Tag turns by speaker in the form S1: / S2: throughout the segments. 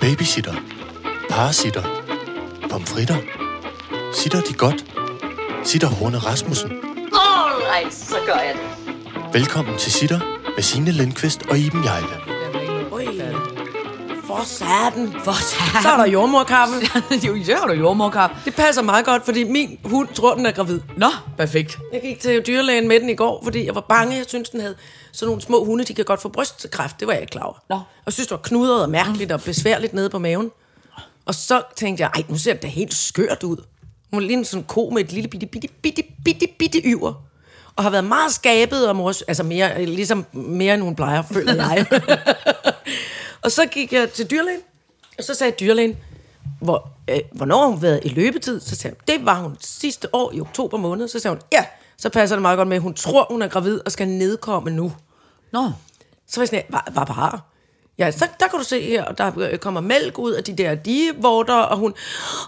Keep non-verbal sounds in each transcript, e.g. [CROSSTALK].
S1: Babysitter. Parasitter. Pomfritter. Sitter de godt? Sitter Horne Rasmussen.
S2: Alright, så gør jeg det.
S1: Velkommen til Sitter med Signe Lindqvist og Iben Jejle.
S3: For satan.
S4: For
S3: Så er der jordmorkaffe.
S4: jo, så har du jordmorkap.
S3: [LAUGHS] Det passer meget godt, fordi min hund tror, den er gravid.
S4: Nå, perfekt.
S3: Jeg gik til dyrlægen med den i går, fordi jeg var bange. Jeg synes, den havde sådan nogle små hunde, de kan godt få brystkræft. Det var jeg ikke klar over.
S4: Nå.
S3: Og jeg synes, det var knudret og mærkeligt og besværligt nede på maven. Og så tænkte jeg, ej, nu ser det da helt skørt ud. Hun ligner sådan en ko med et lille bitte, bitte, bitte, bitte, bitte yver. Og har været meget skabet og mors, altså mere, ligesom mere end hun plejer, føler jeg. og så gik jeg til dyrlægen, og så sagde dyrlægen, hvor, øh, hvornår har hun været i løbetid? Så sagde hun, det var hun sidste år i oktober måned. Så sagde hun, ja, så passer det meget godt med, at hun tror, hun er gravid og skal nedkomme nu.
S4: Nå,
S3: Så var jeg sådan, her, hvad, hvad bare? Ja, så, der kan du se her, og der øh, kommer mælk ud af de der digevorter, og hun,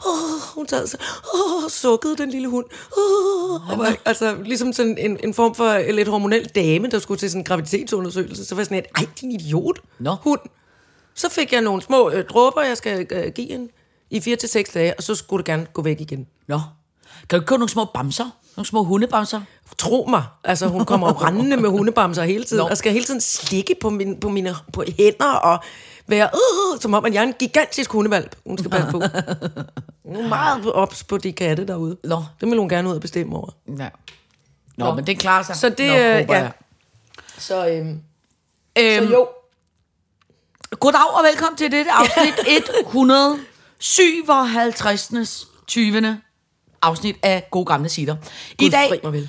S3: åh, hun sad så, åh, sukkede den lille hund. Åh, og var, altså, ligesom sådan en, en form for øh, lidt hormonel dame, der skulle til sådan en graviditetsundersøgelse. Så var jeg sådan, her, ej, din idiot,
S4: Nå.
S3: hund. Så fik jeg nogle små øh, dråber, jeg skal øh, give hende i 4 til seks dage, og så skulle det gerne gå væk igen.
S4: nå. Kan du ikke købe nogle små bamser? Nogle små hundebamser?
S3: Tro mig, altså hun kommer jo rendende med hundebamser hele tiden,
S4: Nå.
S3: no. og skal hele tiden slikke på, min, på mine på hænder og være, øh, som om at jeg er en gigantisk hundevalp, hun skal passe på. Hun er meget ops på de katte derude.
S4: Nå.
S3: Det vil hun gerne ud og bestemme over.
S4: Ja. Nå, Nå. men det klarer sig.
S3: Så det,
S4: Nå,
S3: øh,
S4: håber
S3: ja.
S4: jeg.
S3: Så, øhm,
S4: Øhm,
S3: så jo,
S4: Goddag og velkommen til dette afsnit 157. 20. afsnit af Gode Gamle Sitter.
S3: Gud fri mig vel.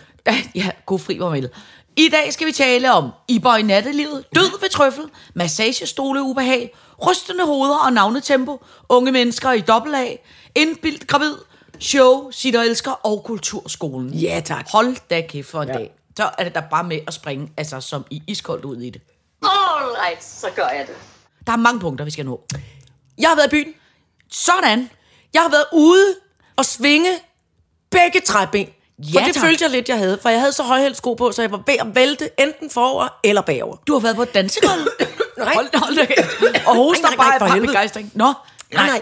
S4: Ja, god fri mig vel. I dag skal vi tale om Iber i nattelivet, død ved trøffel, massagestole ubehag, rystende hoveder og navnetempo, unge mennesker i dobbelt A, indbildt gravid, show, sitter og elsker og kulturskolen.
S3: Ja, tak.
S4: Hold da kæft for en ja.
S3: Ja.
S4: dag. Så er det da bare med at springe, altså som i iskoldt ud i det.
S2: Alright, så gør jeg det.
S4: Der er mange punkter, vi skal nå.
S3: jeg har været i byen.
S4: Sådan.
S3: Jeg har været ude og svinge begge træben.
S4: Ja,
S3: for det
S4: tak.
S3: følte jeg lidt, jeg havde, for jeg havde så højhældssko på, så jeg var ved at vælte enten forover eller bagover.
S4: Du har været på et dansegulv.
S3: [COUGHS] Nej.
S4: Hold, hold da kæft. Og hoster
S3: [LAUGHS] Nej, nej,
S4: bare
S3: for
S4: af
S3: helvede.
S4: begejstring. Nå,
S3: Nej, nej.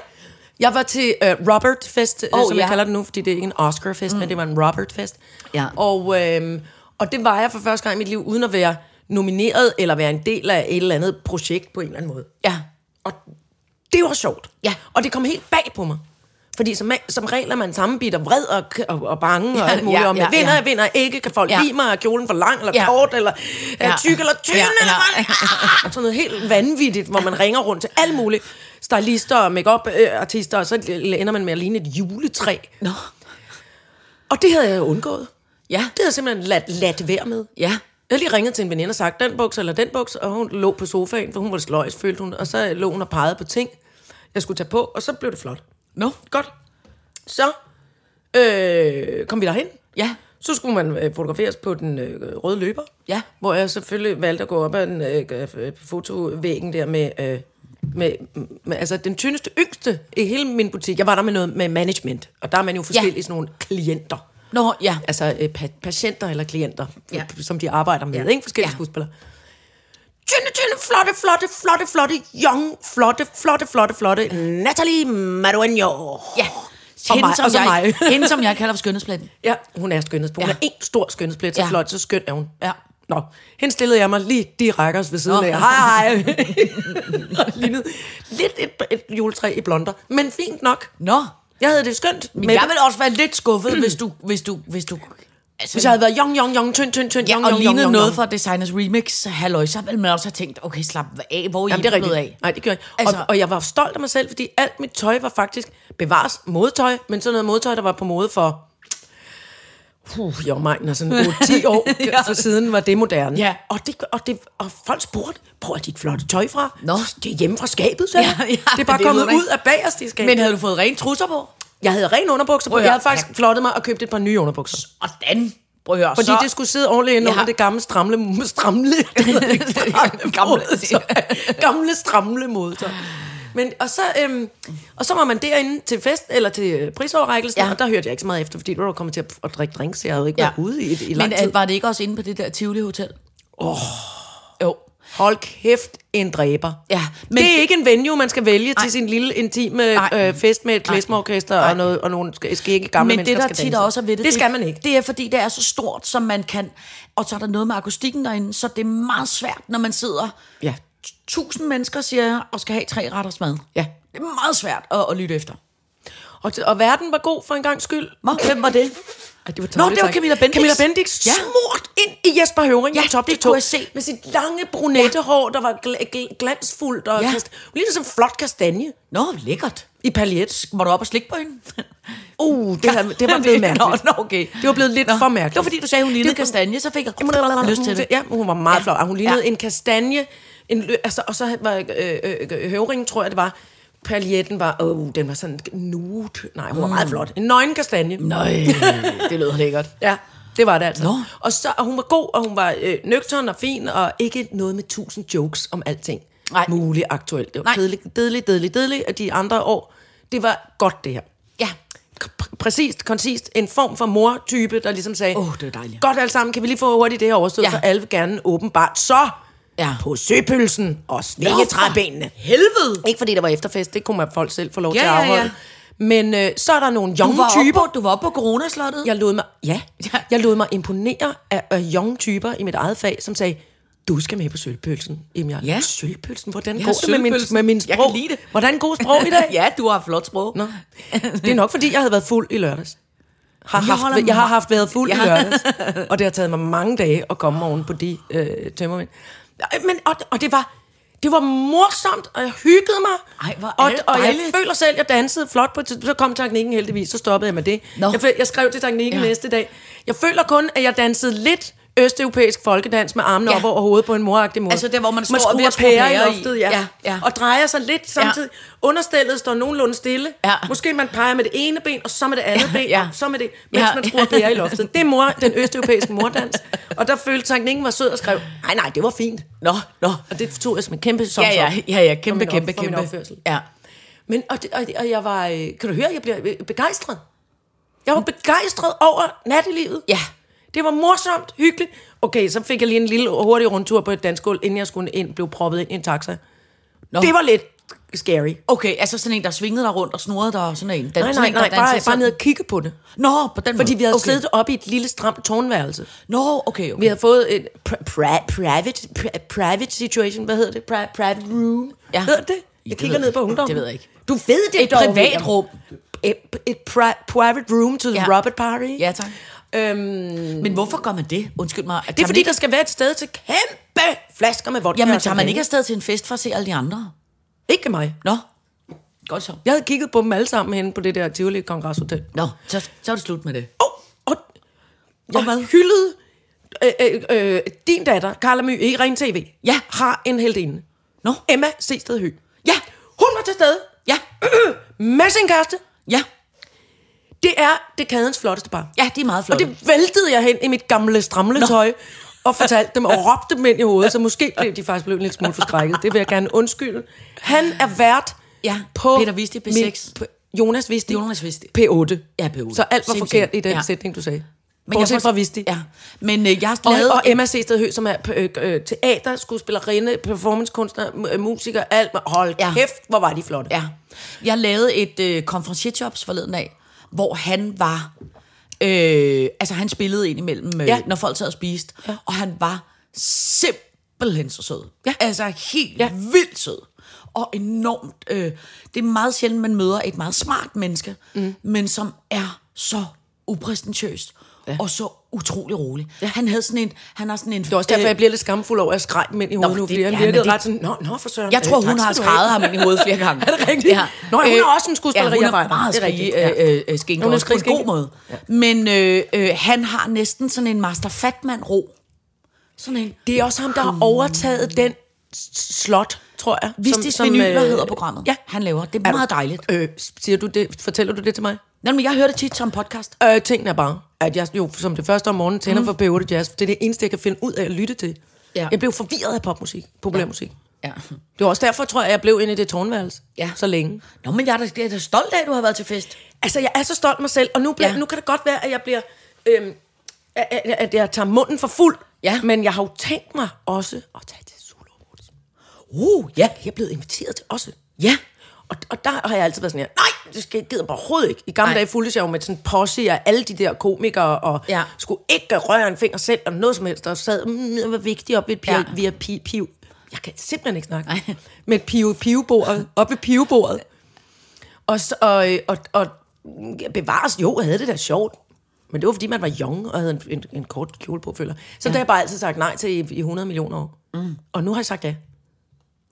S3: Jeg var til øh, Robert Fest, øh,
S4: Åh,
S3: som jeg
S4: ja.
S3: kalder det nu, fordi det er ikke en Oscar Fest, mm. men det var en Robert Fest.
S4: Ja.
S3: Og, øh, og det var jeg for første gang i mit liv, uden at være nomineret eller være en del af et eller andet projekt på en eller anden måde.
S4: Ja.
S3: Og det var sjovt.
S4: Ja.
S3: Og det kom helt bag på mig. Fordi som, som regel er man sammenbidt og vred og, k- og, og bange
S4: Ja,
S3: og alt muligt.
S4: ja,
S3: Ja, om jeg
S4: ja,
S3: vinder,
S4: ja.
S3: jeg vinder ikke. Kan folk
S4: Ja.
S3: ja. lide mig? Er kjolen for lang eller
S4: Ja.
S3: ja. kort? Eller ja.
S4: Ja.
S3: er tyk eller tynd?
S4: Ja,
S3: Ja,
S4: ja.
S3: eller ja. Sådan noget helt vanvittigt, hvor man ringer rundt til alle mulige stylister og make artister og så ender man med at ligne et juletræ.
S4: Nå.
S3: Og det havde jeg jo undgået.
S4: Ja.
S3: Det havde jeg simpelthen ladt, ladt være med.
S4: Ja.
S3: Jeg havde lige ringet til en veninde og sagt, den buks eller den buks, og hun lå på sofaen, for hun var sløjs, følte hun. Og så lå hun og pegede på ting, jeg skulle tage på, og så blev det flot.
S4: Nå.
S3: Godt. Så øh, kom vi derhen.
S4: Ja.
S3: Så skulle man øh, fotograferes på den øh, røde løber.
S4: Ja.
S3: Hvor jeg selvfølgelig valgte at gå op ad den, øh, øh, fotovæggen der med, øh, med, med, altså den tyndeste, yngste i hele min butik. Jeg var der med noget med management, og der er man jo forskellige sådan nogle klienter.
S4: Nå, ja.
S3: Altså øh, pa- patienter eller klienter,
S4: Ja.
S3: ja. som de arbejder med,
S4: Ja.
S3: ja. ikke? Forskellige
S4: Ja.
S3: ja. skuespillere. Tynde, tynde, flotte, flotte, flotte, flotte, young, flotte, flotte, flotte, flotte, Natalie Madueño.
S4: Ja.
S3: Og
S4: Hende,
S3: mig-
S4: som
S3: og så
S4: jeg,
S3: mig.
S4: [LAUGHS] hende, som jeg kalder for skønhedsplanen.
S3: Ja, hun er skønhedspå. Ja. Hun
S4: Ja.
S3: er en stor skønhedsplet, så
S4: Ja.
S3: ja. flot, så skøn er hun.
S4: Ja.
S3: Nå, hende stillede jeg mig lige de rækkers ved siden
S4: Nå.
S3: Nå. af. Hej, [LAUGHS] hej. Og lignede lidt et, et juletræ i blonder, men fint nok.
S4: Nå.
S3: Jeg havde det skønt.
S4: Men
S3: med
S4: jeg
S3: det.
S4: vil også være lidt skuffet, hvis du... Hvis du, hvis du altså,
S3: Hvis jeg havde været young, young, young, tynd, tynd, tynd,
S4: ja,
S3: young,
S4: og
S3: young,
S4: lignede
S3: young,
S4: noget
S3: young.
S4: fra Designers Remix, halløj, så ville man også have tænkt, okay, slap af, hvor er I
S3: Jamen, det er
S4: blevet
S3: rigtigt.
S4: af?
S3: Af. Nej, det gjorde jeg ikke.
S4: Altså-
S3: Altså, og, og jeg var stolt af mig selv, fordi alt mit tøj var faktisk bevares modetøj, men sådan noget modetøj, der var på mode for... Puh, jeg var altså, mig, når sådan 10 år
S4: [LAUGHS] Ja.
S3: for siden var det moderne.
S4: Ja.
S3: Og, det, og, det, og folk spurgte, hvor er dit flotte tøj fra?
S4: Nå.
S3: Det er hjemme fra skabet, så.
S4: Ja, ja,
S3: det er bare det
S4: det er
S3: kommet
S4: det, ikke?
S3: ud af bagerst i skabet.
S4: Men havde du fået rene trusser på?
S3: Jeg havde ren underbukser på.
S4: Prøv at
S3: Jeg
S4: høre.
S3: havde faktisk flottet mig og købt et par nye underbukser.
S4: Hvordan? Prøv at høre,
S3: Fordi
S4: så...
S3: det skulle sidde ordentligt ind
S4: Ja.
S3: under det gamle stramle...
S4: [LAUGHS]
S3: Stramle...
S4: Gamle-
S3: gamle, [LAUGHS] gamle stramle modtøj. Men, og, så, øhm, og så var man derinde til fest, eller til øh, prisoverrækkelsen,
S4: Ja.
S3: ja. og der hørte jeg ikke så meget efter, fordi du var kommet til at, at drikke drinks, så jeg havde jo ikke
S4: Ja.
S3: ja. været ude i, i
S4: Men
S3: lang
S4: øh,
S3: tid.
S4: var det ikke også inde på det der Tivoli Hotel? Åh. Oh. Jo.
S3: Hold kæft, en dræber.
S4: Ja, men
S3: men det er
S4: det-
S3: ikke en venue, man skal vælge
S4: Nej.
S3: til sin lille intime
S4: Nej.
S3: øh, fest med et
S4: Nej.
S3: klesmeorkester
S4: Nej.
S3: og, noget, og nogle sk- skægge gamle
S4: Men det,
S3: mennesker
S4: der
S3: skal
S4: tit
S3: danse.
S4: også er ved det,
S3: det skal man ikke.
S4: Det er, fordi det er så stort, som man kan. Og så er der noget med akustikken derinde, så det er meget svært, når man sidder
S3: Ja.
S4: tusind mennesker, siger jeg, og skal have tre retters mad.
S3: Ja.
S4: Det er meget svært at, at lytte efter.
S3: Og, og verden var god for en gang skyld.
S4: Nå, hvem var det?
S3: Ej, det var
S4: Nå, det var Camilla Bendix.
S3: Camilla Bendix
S4: Ja.
S3: ja. smurt ind i Jesper Høring
S4: Ja,
S3: fra top
S4: det
S3: til to.
S4: kunne jeg se.
S3: Med sit lange brunette ja. hår, der var gl- gl- glansfuldt og
S4: Ja.
S3: ja. kast- Hun lignede som en flot kastanje
S4: Nå, lækkert.
S3: i paljet.
S4: Var du op og slikke på hende?
S3: [LAUGHS] Uh, det, her,
S4: [LAUGHS]
S3: det var blevet mærkeligt.
S4: Nå, nå, okay.
S3: Det var blevet lidt
S4: Nå,
S3: for mærkeligt.
S4: Det var fordi, du sagde, hun lignede
S3: Det-
S4: kastanje, så fik jeg
S3: Jamen,
S4: lyst til det.
S3: Ja, hun var meget ja. flot. Og hun lignede
S4: Ja.
S3: ja. en kastanje. En, lø- altså, og så var øh, øh, øh, høvringen, tror jeg det var. Paljetten var, åh, oh, den var sådan nude. Nej, hun var meget flot. En nøgen kastanje.
S4: Nøj, Mm.
S3: [LAUGHS]
S4: det lød lækkert.
S3: Ja, det var det altså.
S4: Nå.
S3: Og, så, og hun var god, og hun var øh, nøgtern og fin, og ikke noget med tusind jokes om alting.
S4: Nej.
S3: Muligt aktuelt. Det
S4: Nej.
S3: var kedeligt, kedeligt, kedeligt, kedeligt, og de andre år, det var godt det her.
S4: Ja.
S3: Pr- Præcist, koncist, en form for mor-type, der ligesom sagde,
S4: Åh, det er dejligt.
S3: godt alle sammen, kan vi lige få hurtigt det her overstået,
S4: Ja.
S3: ja. for alle vil gerne åbenbart så
S4: Ja.
S3: på søpølsen og slikgetræbenene.
S4: Helvede.
S3: Ikke fordi der var efterfest, det kunne man folk selv få lov
S4: Ja,
S3: til at
S4: ja, ja.
S3: afholde. Men øh, så er der nogle
S4: Du var,
S3: young
S4: oppe
S3: typer,
S4: på, du var oppe på coronaslottet.
S3: jeg lod mig, ja,
S4: Ja.
S3: ja. jeg lod mig imponere af, af young typer i mit eget fag, som sagde, du skal med på sølvpølsen. Jamen, jeg,
S4: Ja.
S3: ja. sølvpølsen? Hvordan
S4: Ja,
S3: går det med min,
S4: sølvpølsen.
S3: med min
S4: Jeg
S3: sprog?
S4: kan lide det.
S3: Hvordan går sprog i dag?
S4: [LAUGHS] ja, du har flot sprog.
S3: Nå. Det er nok, fordi jeg havde været fuld i lørdags. Har
S4: Jeg
S3: jeg, haft,
S4: holder
S3: jeg har
S4: mig-
S3: haft været fuld
S4: Jeg
S3: i
S4: har- [LAUGHS]
S3: lørdags, og det har taget mig mange dage at komme oven på de øh, tømmermænd. Ej, Men, og, og det var... Det var morsomt, og jeg hyggede mig.
S4: Ej, hvor er
S3: og,
S4: det
S3: og jeg
S4: dejligt.
S3: føler selv, at jeg dansede flot på et tidspunkt. Så kom teknikken heldigvis, så stoppede jeg med det.
S4: Nå.
S3: Jeg, føl- jeg skrev til teknikken
S4: Ja.
S3: ja. næste dag. Jeg føler kun, at jeg dansede lidt østeuropæisk folkedans med armene
S4: Ja.
S3: ja. op over hovedet på en moragtig måde.
S4: Altså der, hvor man står
S3: skruer
S4: ved at skrue
S3: pærer
S4: pærer i.
S3: i loftet, ja.
S4: Ja, ja.
S3: Og drejer sig lidt samtidig. Ja. Understillet står nogenlunde stille.
S4: Ja.
S3: Måske man peger med det ene ben, og så med det andet
S4: Ja,
S3: ben,
S4: ja.
S3: og så med det, mens
S4: Ja.
S3: man skruer pærer i loftet. Det er mor, den østeuropæiske mordans. Og der følte teknikken var sød og skrev, nej, nej, det var fint.
S4: Nå, nå.
S3: Og det tog jeg som en kæmpe som
S4: Ja, ja, ja, ja, kæmpe,
S3: For min op-
S4: kæmpe,
S3: for min
S4: kæmpe.
S3: opførsel.
S4: Ja.
S3: Men, og, det, og, og jeg var, øh, kan du høre, jeg bliver øh, begejstret. Jeg var begejstret over nattelivet.
S4: Ja.
S3: Det var morsomt, hyggeligt. Okay, så fik jeg lige en lille hurtig rundtur på et dansk gulv, inden jeg skulle ind, blev proppet ind i en taxa.
S4: Nå.
S3: Det var lidt scary.
S4: Okay, altså sådan en, der svingede dig rundt og snurrede dig, og sådan en. Den,
S3: Nej,
S4: sådan
S3: nej,
S4: en, der
S3: nej,
S4: dansede
S3: bare, bare
S4: sådan.
S3: ned og kigge på det.
S4: Nå, på den
S3: Fordi
S4: måde.
S3: vi havde
S4: okay.
S3: okay. siddet oppe i et lille stramt tårnværelse.
S4: Nå, okay, okay.
S3: Vi havde fået et pri- pri- private, pri- private situation, hvad hedder det? Pri- private room.
S4: Ja.
S3: Ja. Hedder det det? Jeg
S4: det
S3: kigger
S4: ved
S3: ned
S4: jeg
S3: på
S4: ikke.
S3: ungdommen.
S4: Det ved jeg ikke.
S3: Du ved det
S4: Et
S3: dog,
S4: privat
S3: William.
S4: rum.
S3: Et, et pri- private room to the
S4: Ja.
S3: Robert party.
S4: Ja, tak. Øhm... Men hvorfor gør man det? Undskyld mig.
S3: Det er fordi, der skal være et sted til kæmpe flasker med vodka.
S4: Jamen,
S3: og
S4: tager man
S3: champagne.
S4: ikke afsted til en fest for at se alle de andre?
S3: Ikke mig.
S4: Nå. Godt så.
S3: Jeg havde kigget på dem alle sammen henne på det der Tivoli Kongresshotel.
S4: Nå, så, så er det slut med det.
S3: Og, og jeg
S4: hvad?
S3: og hyldede øh, øh, øh, din datter, Carla My, i Ren TV.
S4: Ja.
S3: Har en heldinde.
S4: Nå.
S3: Emma Sested Høgh.
S4: Ja.
S3: Hun var til stede
S4: Ja.
S3: med sin kæreste.
S4: Ja.
S3: Det er dekadens flotteste par.
S4: Ja, de er meget
S3: Og
S4: flotte.
S3: det væltede jeg hen i mit gamle stramle tøj
S4: [LAUGHS]
S3: og fortalte dem og råbte dem ind i hovedet, så måske blev de faktisk blevet en lille smule forskrækket. Det vil jeg gerne undskylde. Han er vært
S4: Ja,
S3: på...
S4: Peter Wistig, P6.
S3: på- Jonas Visti.
S4: Jonas Wistig.
S3: P8.
S4: Ja, P8.
S3: Så alt var
S4: Same,
S3: forkert
S4: same.
S3: i den
S4: Ja.
S3: sætning, du sagde.
S4: Men
S3: Men Bortset
S4: jeg
S3: jeg
S4: får-
S3: fra Visti.
S4: Ja. Men øh, jeg har
S3: Og,
S4: lavet...
S3: og Emma Sested Høgh, som er øh, øh, teater, skuespillerinde, performancekunstner, mu- øh, musiker, alt. Hold
S4: Ja.
S3: ja. kæft, hvor var de flotte.
S4: Ja. Jeg lavede et øh, konferencierjobs forleden af, hvor han var... Øh, altså, han spillede ind imellem, øh, ja.
S3: Ja.
S4: når folk sad og spiste. Ja. Og han var simpelthen så sød. Ja. Altså, helt ja.
S3: Ja.
S4: vildt sød. Og enormt... Øh, det er meget sjældent, man møder et meget smart menneske, mm. men som er så upræstentiøst. Ja. Og så utrolig rolig. Ja. Han havde sådan en... Han har sådan en
S3: Det er også derfor, jeg bliver lidt skamfuld over at skrække mænd i hovedet
S4: men
S3: nu,
S4: Øh. det-
S3: fordi han
S4: ja,
S3: virkede
S4: men det-
S3: ret sådan, nå, nå for søren.
S4: Jeg
S3: Øh,
S4: tror,
S3: tak
S4: hun har
S3: skal du have.
S4: skrevet ham ind i hovedet flere gange.
S3: [LAUGHS]
S4: Øh,
S3: Er det rigtigt? Nå, hun er også en
S4: Ja, hun er
S3: skuespillerarbejder.
S4: meget
S3: Det er
S4: skrige,
S3: rigtigt,
S4: øh,
S3: ja.
S4: øh, skinke,
S3: Hun er
S4: også på en god
S3: skrigeskinke.
S4: måde. Men øh, øh, han har næsten sådan en master fatman-ro. Sådan en.
S3: Det er også ham, der har overtaget den s- slot, tror jeg.
S4: Vistis Vinyler hedder programmet,
S3: øh, Ja.
S4: han laver. Det er, meget dejligt.
S3: Øh, siger du det, fortæller du det til mig?
S4: Nå, men jeg hører det tit som podcast.
S3: Øh, tingene er bare, at jeg jo som det første om morgenen tænder mm. for P8 Jazz. for Det er det eneste, jeg kan finde ud af at lytte til.
S4: Ja.
S3: Jeg blev forvirret af popmusik, populærmusik.
S4: Ja.
S3: Det var også derfor, tror jeg, jeg blev inde i det tårnværelse
S4: Ja.
S3: så længe.
S4: Nå, men jeg er da, jeg er da stolt af, at du har været til fest.
S3: Altså, jeg er så stolt af mig selv, og nu, bliver,
S4: Ja.
S3: ja. nu kan det godt være, at jeg bliver... Øhm, at, at- at jeg tager munden for fuld,
S4: Ja.
S3: men jeg har jo tænkt mig også at tage til Zulu. uh, ja, jeg er blevet inviteret til også.
S4: Ja.
S3: Og, og der har jeg altid været sådan her, nej, det skal jeg gider bare overhovedet ikke. I gamle
S4: Nej.
S3: dage fulgte jeg jo med sådan posse og alle de der komikere, og
S4: Ja.
S3: skulle ikke røre en finger selv, og noget som helst, og sad, mm, jeg var vigtig op ved et
S4: Ja.
S3: piv, via pi, piv. Jeg kan simpelthen ikke snakke.
S4: Nej.
S3: Med et piv, pivbordet, op ved pivbordet. Og, så, og, og, og bevares, jo, jeg havde det da sjovt. Men det var, fordi man var young og havde en, en, en kort kjole på, føler. jeg. Så ja. det har jeg bare altid sagt nej til i, i 100 millioner år. Mm. Og nu har jeg sagt ja.